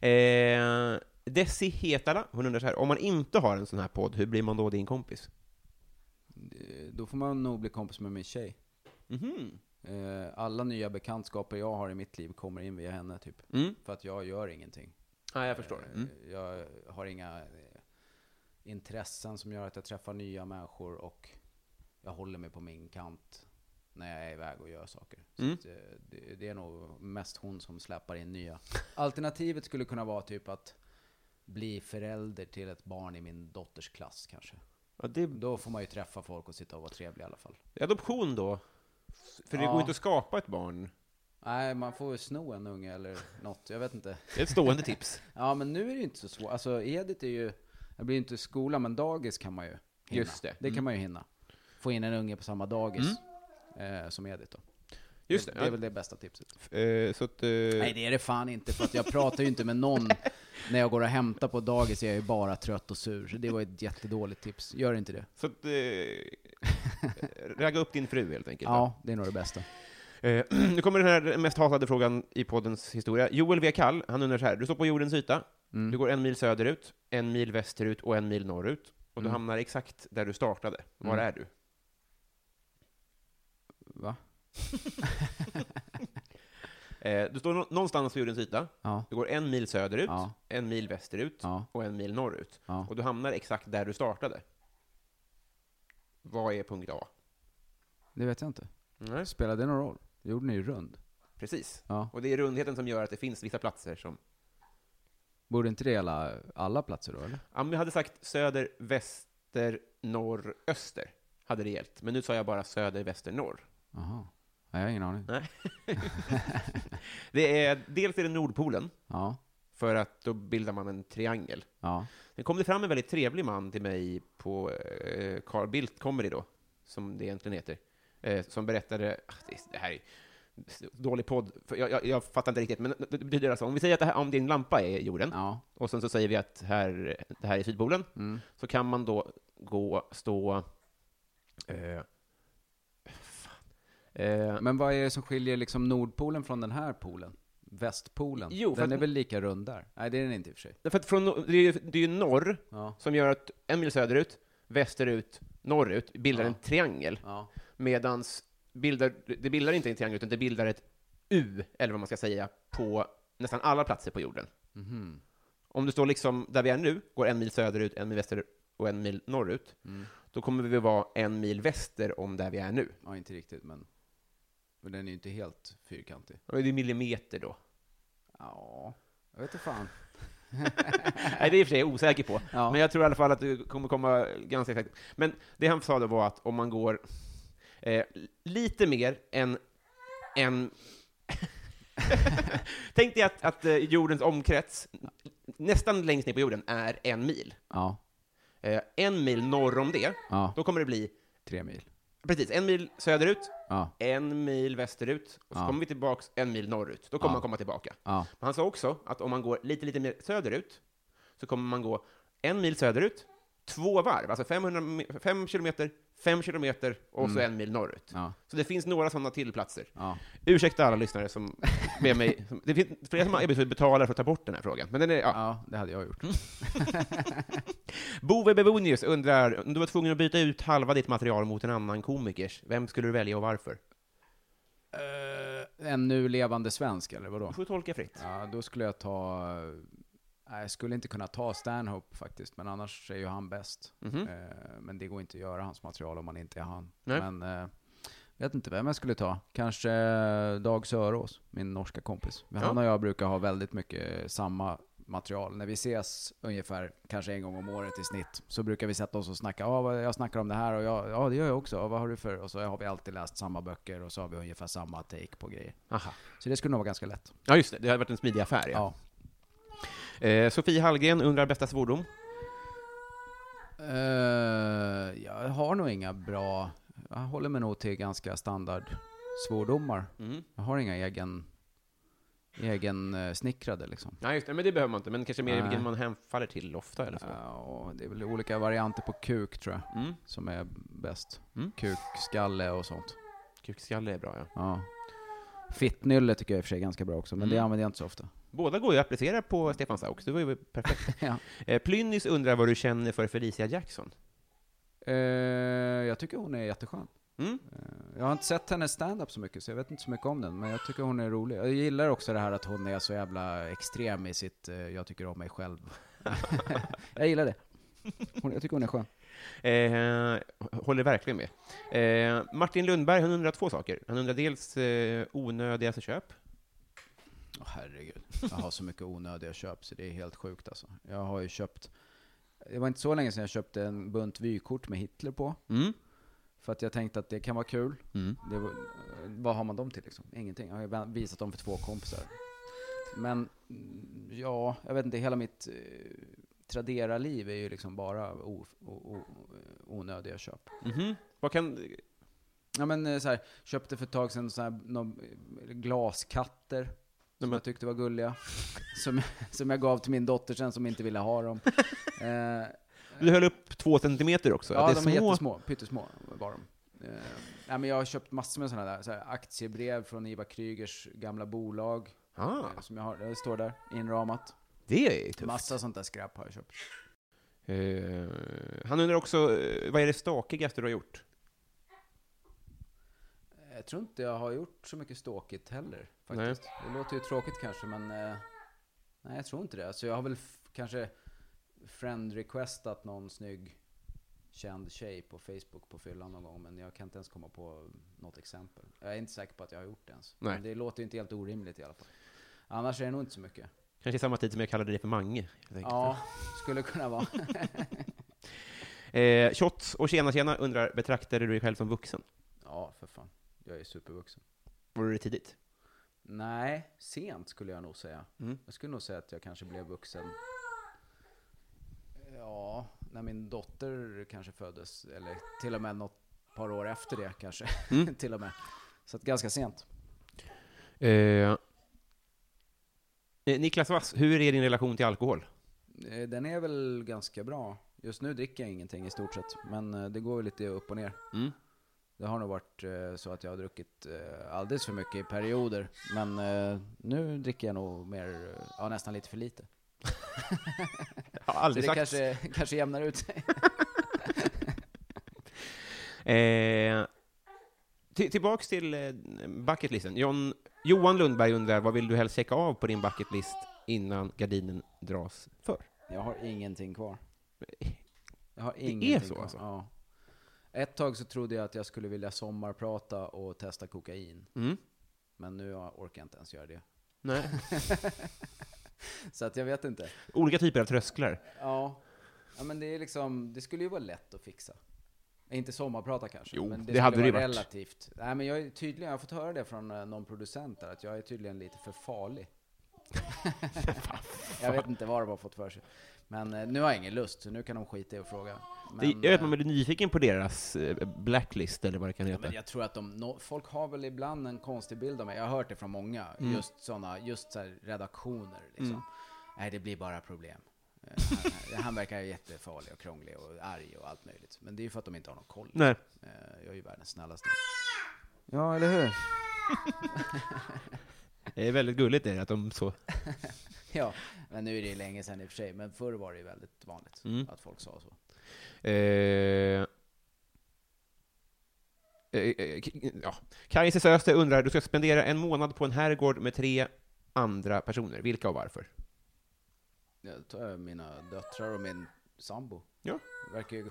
Eh, Desi Hetala, hon undrar så här, om man inte har en sån här podd, hur blir man då din kompis? Eh, Då får man nog bli kompis med min tjej. Mhm. Eh, Alla nya bekantskaper jag har i mitt liv kommer in via henne typ. Mm. För att jag gör ingenting. Ja, jag förstår. Eh, Mm. Jag har inga eh, intressen som gör att jag träffar nya människor och jag håller mig på min kant när jag är iväg och gör saker. Så Mm. att, eh, det, det är nog mest hon som släpar in nya. Alternativet skulle kunna vara typ att bli förälder till ett barn i min dotters klass kanske. Ja, det är Då får man ju träffa folk och sitta och vara trevlig i alla fall. adoption då? För det Ja. går inte att skapa ett barn. Nej, man får ju sno en unge eller något. Jag vet inte. Det är ett stående tips. <laughs> Ja, men nu är det ju inte så svårt. Alltså, Edith är ju... Det blir ju inte skola, men dagis kan man ju hinna. Just det. Det kan man ju hinna. Få in en unge på samma dagis eh, som Edith då. Just det, det. det är väl det bästa tipset. Eh, så att, eh, Nej, det är det fan inte, för att jag pratar ju inte med någon när jag går och hämtar på dagis. Är jag är ju bara trött och sur. Så Det var ett jättedåligt tips. Gör inte det. så att eh, ragga upp din fru helt enkelt. Ja, det är nog det bästa. Eh, <clears throat> nu kommer den här mest hatade frågan i poddens historia. Joel W. Kall, han undrar så här, du står på jordens yta, Mm. du går en mil söderut, en mil västerut och en mil norrut, och du Mm. hamnar exakt där du startade. Var Mm. är du? Va? Eh, du står nå- någonstans på jordens yta, Ja. du går en mil söderut, Ja. en mil västerut Ja. och en mil norrut. Ja. Och du hamnar exakt där du startade. Vad är punkt A? Det vet jag inte. Spelar det någon roll? Jorden är ju rund. Precis. Ja. Och det är rundheten som gör att det finns vissa platser som... Borde inte det gälla alla platser då, eller? Ja, men jag hade sagt söder, väster, norr, öster. Hade det gällt. Men nu sa jag bara söder, väster, norr. Jaha. Nej, jag har ingen aning. Det är, dels är det Nordpolen, Ja. för att då bildar man en triangel. Ja. Sen kom det fram en väldigt trevlig man till mig på eh, Carl Bildt Comedy då, som det egentligen heter, eh, som berättade, ah, det, det här är dålig podd, för jag, jag, jag fattar inte riktigt, men det betyder alltså, om vi säger att det här, om din lampa är jorden, Ja. och sen så säger vi att här, det här är Sydpolen, Mm. så kan man då gå, stå, eh, fan, Eh, Men vad är det som skiljer liksom Nordpolen från den här polen? Västpolen? Jo, för den att- är väl lika rund där? Nej, det är den inte i och för sig. därför att från, no- det, är ju, det är ju norr Ja. som gör att en mil söderut, västerut, norrut bildar Ja. en triangel. Ja. Medans bildar, det bildar inte en triangel, utan det bildar ett U, eller vad man ska säga, på nästan alla platser på jorden. Mhm. Om du står liksom där vi är nu, går en mil söderut, en mil västerut och en mil norrut, Mm. då kommer vi vara en mil väster om där vi är nu. Ja, inte riktigt, men... Men den är ju inte helt fyrkantig. Och Det är millimeter då. Ja, jag vet inte fan. Nej, det är i och för sig jag osäker på. Ja. Men jag tror i alla fall att det kommer komma ganska exakt. Men det han sa då var att om man går eh, lite mer än... än <laughs> Tänk dig att, att eh, jordens omkrets, nästan längst ner på jorden, är en mil. Ja, Eh, en mil norr om det, ja. då kommer det bli Tre mil. precis en mil söderut, Ja, en mil västerut, och så Ja. kommer vi tillbaks en mil norrut. Då kommer Ja. man komma tillbaka. ja, Men han sa också att om man går lite, lite mer söderut så kommer man gå en mil söderut, två varv, alltså 500, me- fem kilometer, fem kilometer och så en mil norrut. ja, Så det finns några sådana tillplatser. ja. Ursäkta alla lyssnare som med mig. som- Det finns flera som har erbjudit sig att betala för att ta bort den här frågan. Men den är, ja. Ja, det hade jag gjort. Bove Bebonius undrar, om du var tvungen att byta ut halva ditt material mot en annan komikers, vem skulle du välja och varför? En nu levande svensk, eller Du vadå? får tolka fritt. Ja, då skulle jag ta... Nej, jag skulle inte kunna ta Stanhope faktiskt, men annars är ju han bäst. Mhm. Eh, Men det går inte att göra hans material om man inte är han. Nej. Men eh, vet inte vem jag skulle ta. Kanske eh, Dag Sörås, min norska kompis. Men Ja. Han och jag brukar ha väldigt mycket samma material. När vi ses ungefär kanske en gång om året i snitt så brukar vi sätta oss och snacka. Ja, vad- jag snackar om det här och jag, ja, det gör jag också. Ja, vad har du för? Och så har vi alltid läst samma böcker och så har vi ungefär samma take på grejer. Aha. Så det skulle nog vara ganska lätt. Ja, just det. Det har varit en smidig affär, ja. Ja. Eh, Sofie Hallgren undrar bästa svordom. Eh, jag har nog inga bra... Jag håller mig nog till ganska standard svordomar. Mm. Jag har inga egen, egen eh, snickrade liksom. Nej, just det. Men det behöver man inte. Men kanske mer Nej. vilken man hemfaller till ofta eller så. Ja, och det är väl olika varianter på kuk tror jag, Mm. som är bäst. Mm. Kukskalle och sånt. Kukskalle är bra, ja. Ja. Fittnylle tycker jag i och för sig är ganska bra också, men det Mm. använder jag inte så ofta. Båda går ju att applicera på Stefan Sauk, det var ju perfekt. <laughs> Ja. Eh, Plynnis undrar vad du känner för Felicia Jackson. Eh, jag tycker hon är jätteskön. Mm? Eh, Jag har inte sett hennes stand-up så mycket, så jag vet inte så mycket om den, men jag tycker hon är rolig. Jag gillar också det här att hon är så jävla extrem i sitt eh, ”jag tycker om mig själv”. <laughs> jag gillar det. Hon, jag tycker hon är skön. Eh, håller verkligen med. Eh, Martin Lundberg, han undrar två saker. Han undrar dels eh, onödigaste köp. Åh, herregud, jag har så mycket onödiga köp så det är helt sjukt alltså. Jag har ju köpt, det var inte så länge sedan jag köpte en bunt vykort med Hitler på. Mm. För att jag tänkte att det kan vara kul. Mm. Det var, eh, vad har man dem till liksom? Ingenting. Jag har ju va- visat dem för två kompisar. Men mm, ja, jag vet inte, hela mitt eh, Tradera-liv är ju liksom bara o, o, o, onödiga köp. Mhm. Vad kan... Ja men eh, så här, köpte för ett tag sedan så här, någon, eh, glaskatter. Som men- jag tyckte var gulliga. <laughs> Som, som jag gav till min dotter sen som inte ville <laughs> ha dem. Eh, Du höll upp två centimeter också. ja, att de det är är små... jättesmå. Pyttesmå var de. Eh, nej, men jag har köpt massor med sådana där så här, aktiebrev från Iva Krygers gamla bolag. ah, eh, Som jag har, det står där inramat. det är tufft. Massa sånt där skräp har jag köpt. Eh, han undrar också, eh, vad är det stakigaste du har gjort? Jag tror inte jag har gjort så mycket ståkigt heller faktiskt. Det låter ju tråkigt kanske men eh, nej jag tror inte det. Så jag har väl f- kanske friend requestat någon snygg känd tjej på Facebook på fyllan någon gång men jag kan inte ens komma på något exempel. Jag är inte säker på att jag har gjort det ens. Nej. Men det låter ju inte helt orimligt i alla fall. Annars är det nog inte så mycket. Kanske i samma tid som jag kallade dig för Mange. helt enkelt. Ja, skulle kunna vara. <laughs> Eh, Shots och Tjena Tjena undrar, betraktar du dig själv som vuxen? Ja, för fan. Jag är supervuxen. Var det tidigt? Nej, sent skulle jag nog säga. Mm. Jag skulle nog säga att jag kanske blev vuxen. Ja, när min dotter kanske föddes, eller till och med något par år efter det kanske. Mm. <laughs> till och med. Så att ganska sent. Eh, Niklas Wass, hur är din relation till alkohol? Eh, Den är väl ganska bra. Just nu dricker jag ingenting i stort sett, men eh, det går ju lite upp och ner. Det har nog varit eh, så att jag har druckit eh, alldeles för mycket i perioder. Men eh, nu dricker jag nog mer, eh, ja nästan lite för lite. Jag har Så aldrig det sagt... kanske, kanske jämnar ut sig. Eh, till- tillbaks till eh, bucketlisten. John, Johan Lundberg undrar, vad vill du helst checka av på din bucketlist innan gardinen dras för? Jag har ingenting kvar. Jag har är ingenting så kvar. alltså? Ja. Ett tag så trodde jag att jag skulle vilja sommarprata och testa kokain. Mm. Men nu orkar jag inte ens göra det. Nej. <laughs> Så att jag vet inte. Olika typer av trösklar. Ja. ja, men det är liksom, det skulle ju vara lätt att fixa. Inte sommarprata kanske, Jo, men det hade skulle det vara varit. relativt. Nej, men jag är tydligen, jag har fått höra det från eh, någon producent där, att jag är tydligen lite för <laughs> farlig. jag vet inte vad de har fått för sig. Men eh, nu har jag ingen lust, så nu kan de skita i att fråga. Det, Men, jag vet att eh, man blir nyfiken på deras eh, blacklist, eller vad det kan Ja, heta. men jag tror att de, nå- folk har väl ibland en konstig bild av mig. Jag har hört det från många, Mm. just sådana, just så här redaktioner liksom. Nej, det blir bara problem. Eh, <laughs> han, han verkar jättefarlig och krånglig och arg och allt möjligt. Men det är ju för att de inte har någon koll. Nej. Eh, jag är ju världens snällaste. <laughs> Ja, eller hur? <laughs> Det är väldigt gulligt det, att de så... Ja, men nu är det ju länge sedan i och för sig. Men förr var det ju väldigt vanligt Mm. att folk sa så. Eh, eh, eh, k- ja. Kajse Söster undrar, du ska spendera en månad på en herrgård med tre andra personer. Vilka och varför? Jag tar eh, mina döttrar och min sambo. Ja. Verkar ju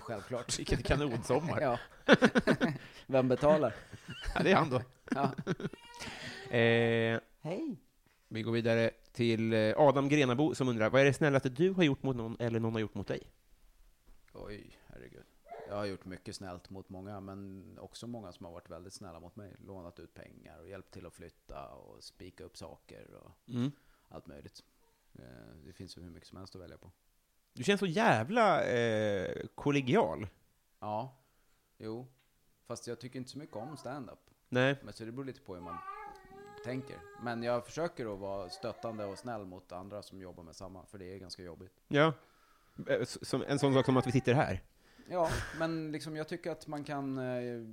<laughs> självklart. <laughs> Vilken kanonsommar. <laughs> Ja. Vem betalar? Ja, det är han då. Ja. Eh, Hej. vi går vidare till eh, Adam Grenabo som undrar, vad är det snällaste du har gjort mot någon eller någon har gjort mot dig? Oj, herregud. Jag har gjort mycket snällt mot många, men också många som har varit väldigt snälla mot mig. Lånat ut pengar och hjälpt till att flytta och spika upp saker och Mm. allt möjligt. Eh, Det finns ju hur mycket som helst att välja på. Du känns så jävla eh, kollegial. Ja, jo. Fast jag tycker inte så mycket om stand-up. Nej. Men så det beror lite på hur man tänker. Men jag försöker att vara stöttande och snäll mot andra som jobbar med samma, för det är ganska jobbigt. Ja. Eh, s- Som, en sån sak som att vi sitter här. Ja, men liksom jag tycker att man kan eh,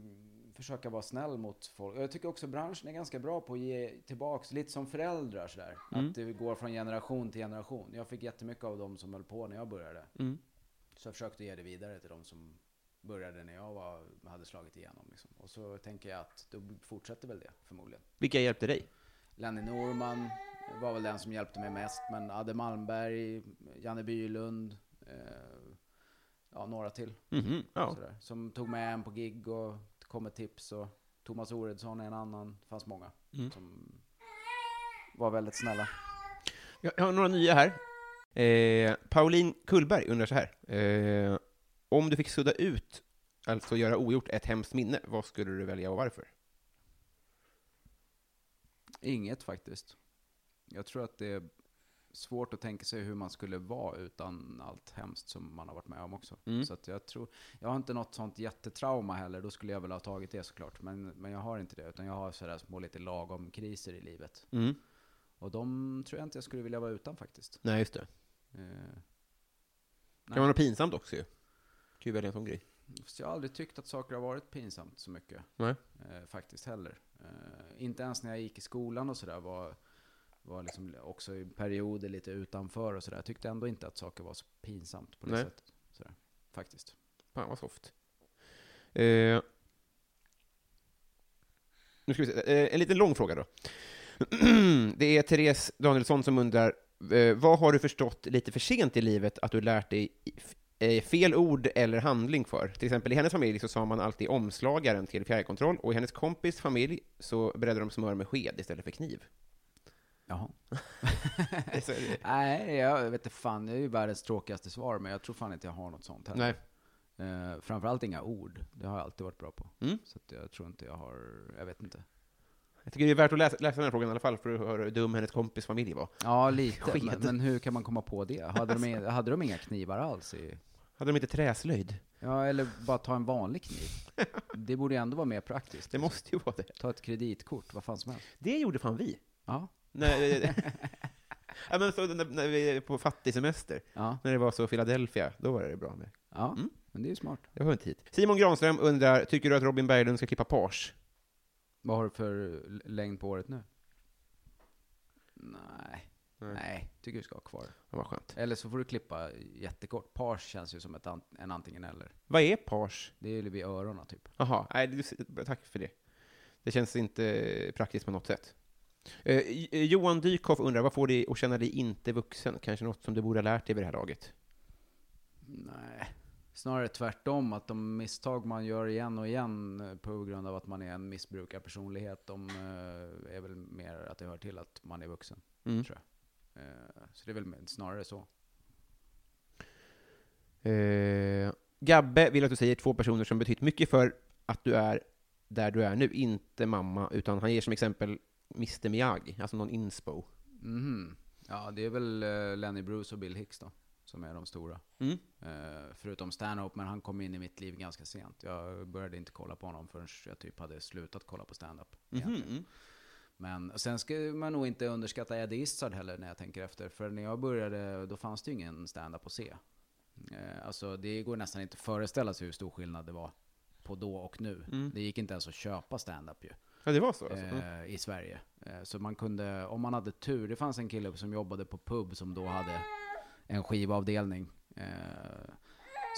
försöka vara snäll mot folk. Jag tycker också branschen är ganska bra på att ge tillbaks, lite som föräldrar sådär. Att det går från generation till generation. Jag fick jättemycket av dem som höll på när jag började. Så jag försökte ge det vidare till de som började när jag var, hade slagit igenom. Liksom. Och så tänker jag att då fortsätter väl det förmodligen. Vilka hjälpte dig? Lenny Norman var väl den som hjälpte mig mest, men Adde Malmberg, Janne Bylund, eh, ja, några till. Mhm, ja. Sådär. Som tog med en på gig och kom med tips. Och Thomas Oredsson är en annan. Det fanns många som var väldigt snälla. Jag jag har några nya här. Eh, Pauline Kullberg undrar så här. Eh, om du fick sudda ut, alltså göra ogjort, ett hemskt minne, vad skulle du välja och varför? Inget faktiskt. Jag tror att det är svårt att tänka sig hur man skulle vara utan allt hemskt som man har varit med om också. Så att jag tror, jag har inte något sånt jättetrauma heller, då skulle jag väl ha tagit det såklart. Men, men jag har inte det, utan jag har sådär små lite lagom kriser i livet. Mm. Och de tror jag inte jag skulle vilja vara utan faktiskt. Nej, just det. Eh, Det kan vara något pinsamt också ju. Kan ju välja en sån grej. Fast jag har aldrig tyckt att saker har varit pinsamt så mycket. Nej. Eh, faktiskt heller. Eh, inte ens när jag gick i skolan och sådär var, var liksom också i perioder lite utanför och sådär. Jag tyckte ändå inte att saker var så pinsamt på det Nej. sättet. Sådär. Faktiskt. Fan vad soft. Eh, nu ska vi se. Eh, en liten lång fråga då. <clears throat> Det är Therese Danielsson som undrar, eh, vad har du förstått lite för sent i livet att du lärt dig i- f- eh, fel ord eller handling för? Till exempel i hennes familj så sa man alltid omslagaren till fjärrkontroll och i hennes kompis familj så beredde de smör med sked istället för <laughs> kniv. Jaha. Så är Alltså, det. <laughs> Nej, jag vet inte fan. Det är ju världens tråkigaste svar, men jag tror fan inte jag har något sånt heller. <laughs> Nej. Eh, framförallt inga ord. Det har jag alltid varit bra på. Mm. Så att jag tror inte jag har, jag vet inte. Jag tycker det är värt att läsa, läsa den här frågan i alla fall för att höra hur dum hennes kompis familj var. Ja, lite. Men, Sked. men hur kan man komma på det? Hade de, inga- hade de inga knivar alls i Hade de inte träslöjd? Ja, eller bara ta en vanlig kniv. Det borde ju ändå vara mer praktiskt. Det måste ju vara det. Ta ett kreditkort, vad fan som helst. Det gjorde fan vi. Ja, Nej, ja, men så, när, när vi är på fattigsemester, ja, när det var så Philadelphia, då var det bra med. ja. Mm. Men det är ju smart. Jag har inte hit. Simon Granström undrar, tycker du att Robin Berglund ska klippa page? Vad har du för l- längd på året nu? Nej. Nej. Nej, tycker du ska ha kvar. Ja, vad skönt. Eller så får du klippa jättekort. Pars känns ju som ett an- en antingen eller. Vad är page? Det är ju vid öronen typ. Jaha, nej, du- tack för det. Det känns inte praktiskt på något sätt. Eh, J- Johan Dykhoff undrar, vad får dig att känna dig inte vuxen? Kanske något som du borde ha lärt dig vid det här laget? Nej. Snarare tvärtom, att de misstag man gör igen och igen eh, på grund av att man är en missbrukarpersonlighet, de eh, är väl mer att det hör till att man är vuxen. Mm. Tror jag. Eh, Så det är väl mer- snarare så. Eh, Gabbe vill att du säger två personer som betytt mycket för att du är där du är nu. Inte mamma, utan han ger som exempel Mr Miyagi, alltså någon inspo. Mhm. Ja, det är väl eh, Lenny Bruce och Bill Hicks då, som är de stora. Mm. Eh, Förutom Stanhope, men han kom in i mitt liv ganska sent. Jag började inte kolla på honom förrän jag typ hade slutat kolla på stand-up. egentligen. Men sen ska man nog inte underskatta Eddie Izzard heller när jag tänker efter. För när jag började, då fanns det ju ingen stand-up att se. Eh, Alltså det går nästan inte att föreställa sig hur stor skillnad det var på då och nu. Det gick inte ens att köpa stand-up ju Ja, det var så alltså. Mm. eh, i Sverige. Eh, så man kunde, om man hade tur, det fanns en kille som jobbade på pub som då hade en skivavdelning eh,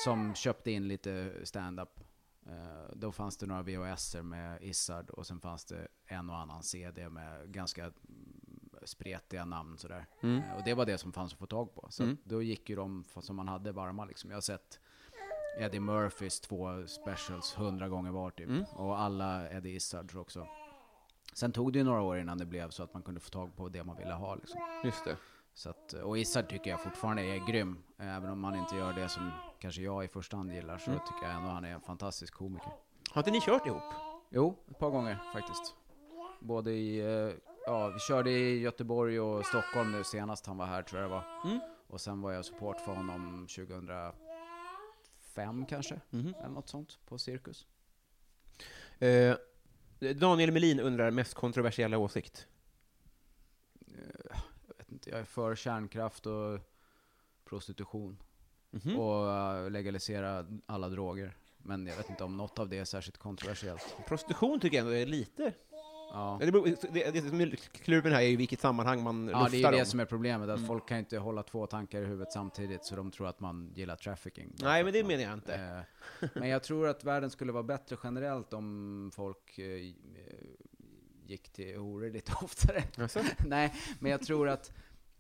som köpte in lite stand-up. Eh, då fanns det några VHSer med Izzard och sen fanns det en och annan CD med ganska mm, spretiga namn sådär. Mm. Eh, och det var det som fanns att få tag på. Så att då gick ju de f- som man hade varma liksom. Jag har sett Eddie Murphys två specials hundra gånger var typ. Mm. Och alla Eddie Izzards också. Sen tog det ju några år innan det blev så att man kunde få tag på det man ville ha. Liksom. Just det. Så att, och Izzard tycker jag fortfarande är grym. Även om han inte gör det som kanske jag i första hand gillar så tycker jag ändå han är en fantastisk komiker. Har inte ni kört ihop? Jo, ett par gånger faktiskt. Både i, eh, ja vi körde i Göteborg och Stockholm nu senast han var här tror jag det var. Och sen var jag support för honom 2005 kanske, eller något sånt, på Cirkus. Eh, Daniel Melin undrar, mest kontroversiella åsikt? vet inte, jag är för kärnkraft och prostitution. Mhm. Och eh, legalisera alla droger. Men jag vet inte om något av det är särskilt kontroversiellt. Prostitution tycker jag ändå är lite... Ja. Ja, Det, beror, det, det som är klurven här är ju vilket sammanhang man Ja, det är luftar ju det om. som är problemet, att folk kan ju inte hålla två tankar i huvudet samtidigt, så de tror att man gillar trafficking. bara Nej, för men att det man- menar jag inte. Eh, Men jag tror att världen skulle vara bättre generellt om folk eh, eh, gick till horor lite <laughs> oftare. Jaså? Nej, men jag tror att,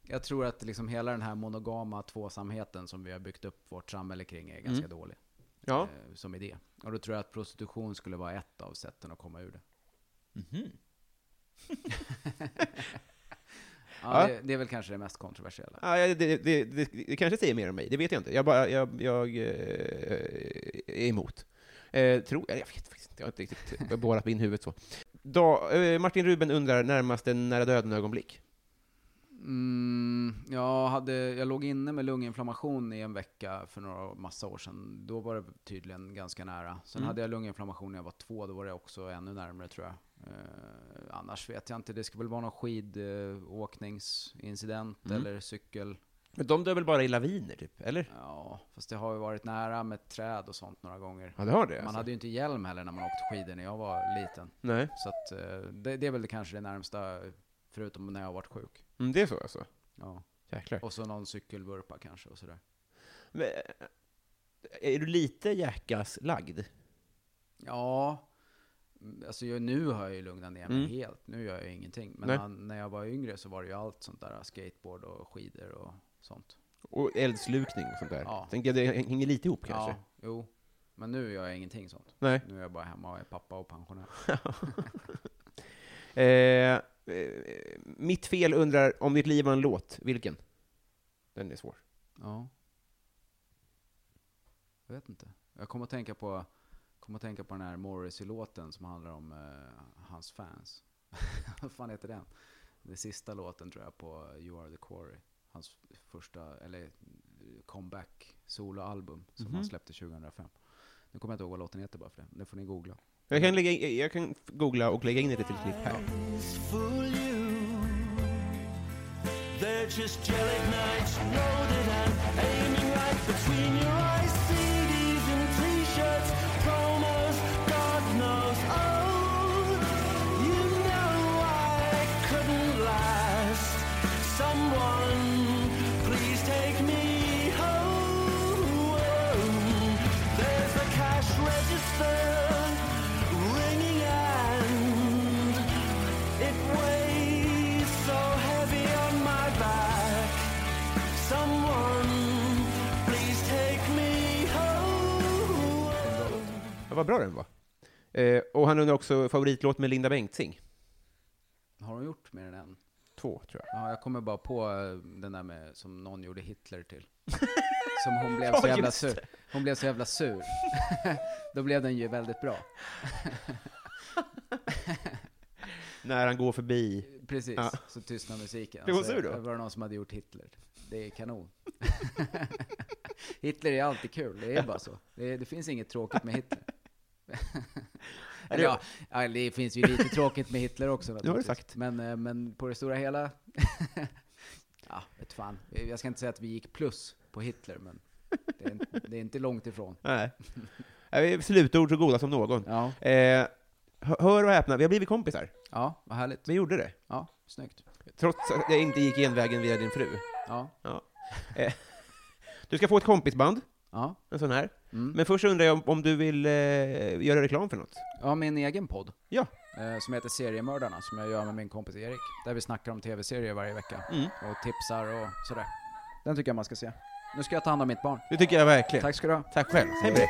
jag tror att liksom hela den här monogama tvåsamheten som vi har byggt upp vårt samhälle kring är ganska dålig Ja. eh, som idé. Och då tror jag att prostitution skulle vara ett av sätten att <laughs> komma ur det. ja, Ja. Det, det är väl kanske det mest kontroversiella. Ja, ja, det, det, det, det kanske säger mer om mig, det vet jag inte. Jag, bara, jag, jag eh, är emot. Eh, tror jag, jag vet faktiskt inte. Jag har inte riktigt borrat min huvud så. Da, eh, Martin Ruben undrar närmaste nära döden-ögonblick. Mm, jag, hade, jag låg inne med lunginflammation i en vecka för några massa år sedan. Då var det tydligen ganska nära. Sen Mm. hade jag lunginflammation när jag var två, då var det också ännu närmare tror jag. Eh, annars vet jag inte, det ska väl vara någon skidåkningsincident Mm. eller cykel. Men de dör väl bara i laviner, typ? Eller? Ja, fast det har ju varit nära med träd och sånt några gånger. Ja, det har det. Man alltså. hade ju inte hjälm heller när man åkte skidor när jag var liten. Nej, Så att, eh, det, det är väl det kanske det närmsta, förutom när jag har varit sjuk. mm, det är så alltså. Ja. Jäklar. Och så någon cykelvurpa kanske och sådär. Men, eh, är du lite Jackass-lagd? Ja, mm, alltså jag, nu har jag ju lugnat ner mig Mm. helt. Nu gör jag ingenting. Men Nej. när- när jag var yngre så var det ju allt sånt där, skateboard och skidor och sånt. Och eldslukning och sånt där. Ja. Tänker jag, det hänger lite ihop kanske. Ja, jo. Men nu gör jag ingenting sånt. Nej. Nu är jag bara hemma och är pappa och pensionär. Eh, <laughs> eh, mitt fel undrar om ditt liv var en låt, vilken? Den är svår. Ja. Jag vet inte. Jag kommer att tänka på, kommer att tänka på den här Morrissey-låten som handlar om eh, hans fans. <laughs> Vad fan heter den? Den sista låten tror jag på You Are The Quarry. Hans första, eller comeback soloalbum som han släppte 2005. Nu kommer jag inte ihåg vad låten heter bara för det. Det får ni googla. Jag kan, lägga, in- jag kan googla och lägga in ett litet klipp här. fool you. They're just jelly knights. You know that I'm aiming right between your eyes. CDs and Oh, Ja, vad bra den var. Eh, och han undrar också favoritlåt med Linda Bengtzing. Har de gjort mer än en? Två, tror jag. Ja, jag kommer bara på eh, den där med, som någon gjorde Hitler <laughs> till. Som hon blev så Ja, jävla just sur. Hon blev så <laughs> jävla sur. <laughs> Då blev den ju väldigt bra. När han går förbi. Precis, Ja. så tystnar musiken. Blev hon Så sur då? var det någon som hade gjort Hitler. Det är kanon. <laughs> Hitler är alltid kul, det är bara så. Det, det finns inget tråkigt med <laughs> Hitler. Eller ja, ja, det finns ju lite tråkigt med <laughs> Hitler också det naturligtvis. sagt. Men, eh, men på det stora hela, <laughs> ja, vet fan. Jag ska inte säga att vi gick plus på Hitler, men det är, inte- det är inte långt ifrån. Nej. Eh, Slutord så goda som någon. Ja, Eh, hö- hör och häpna, vi har blivit kompisar. ja vad härligt. Vi gjorde det. Ja, snyggt. Trots att jag inte gick genvägen via din fru. Eh, Ja, <laughs> Du ska få ett kompisband, ja. en sån här. Mm. Men först undrar jag om, om du vill eh, göra reklam för något? Ja, min egen podd. Ja. Eh, som heter Seriemördarna, som jag gör med min kompis Erik. Där vi snackar om tv-serier varje vecka. Mm. Och tipsar och sådär. Den tycker jag man ska se. Nu ska jag ta hand om mitt barn. Det tycker jag verkligen. Tack ska du ha. Tack själv. Hej med dig.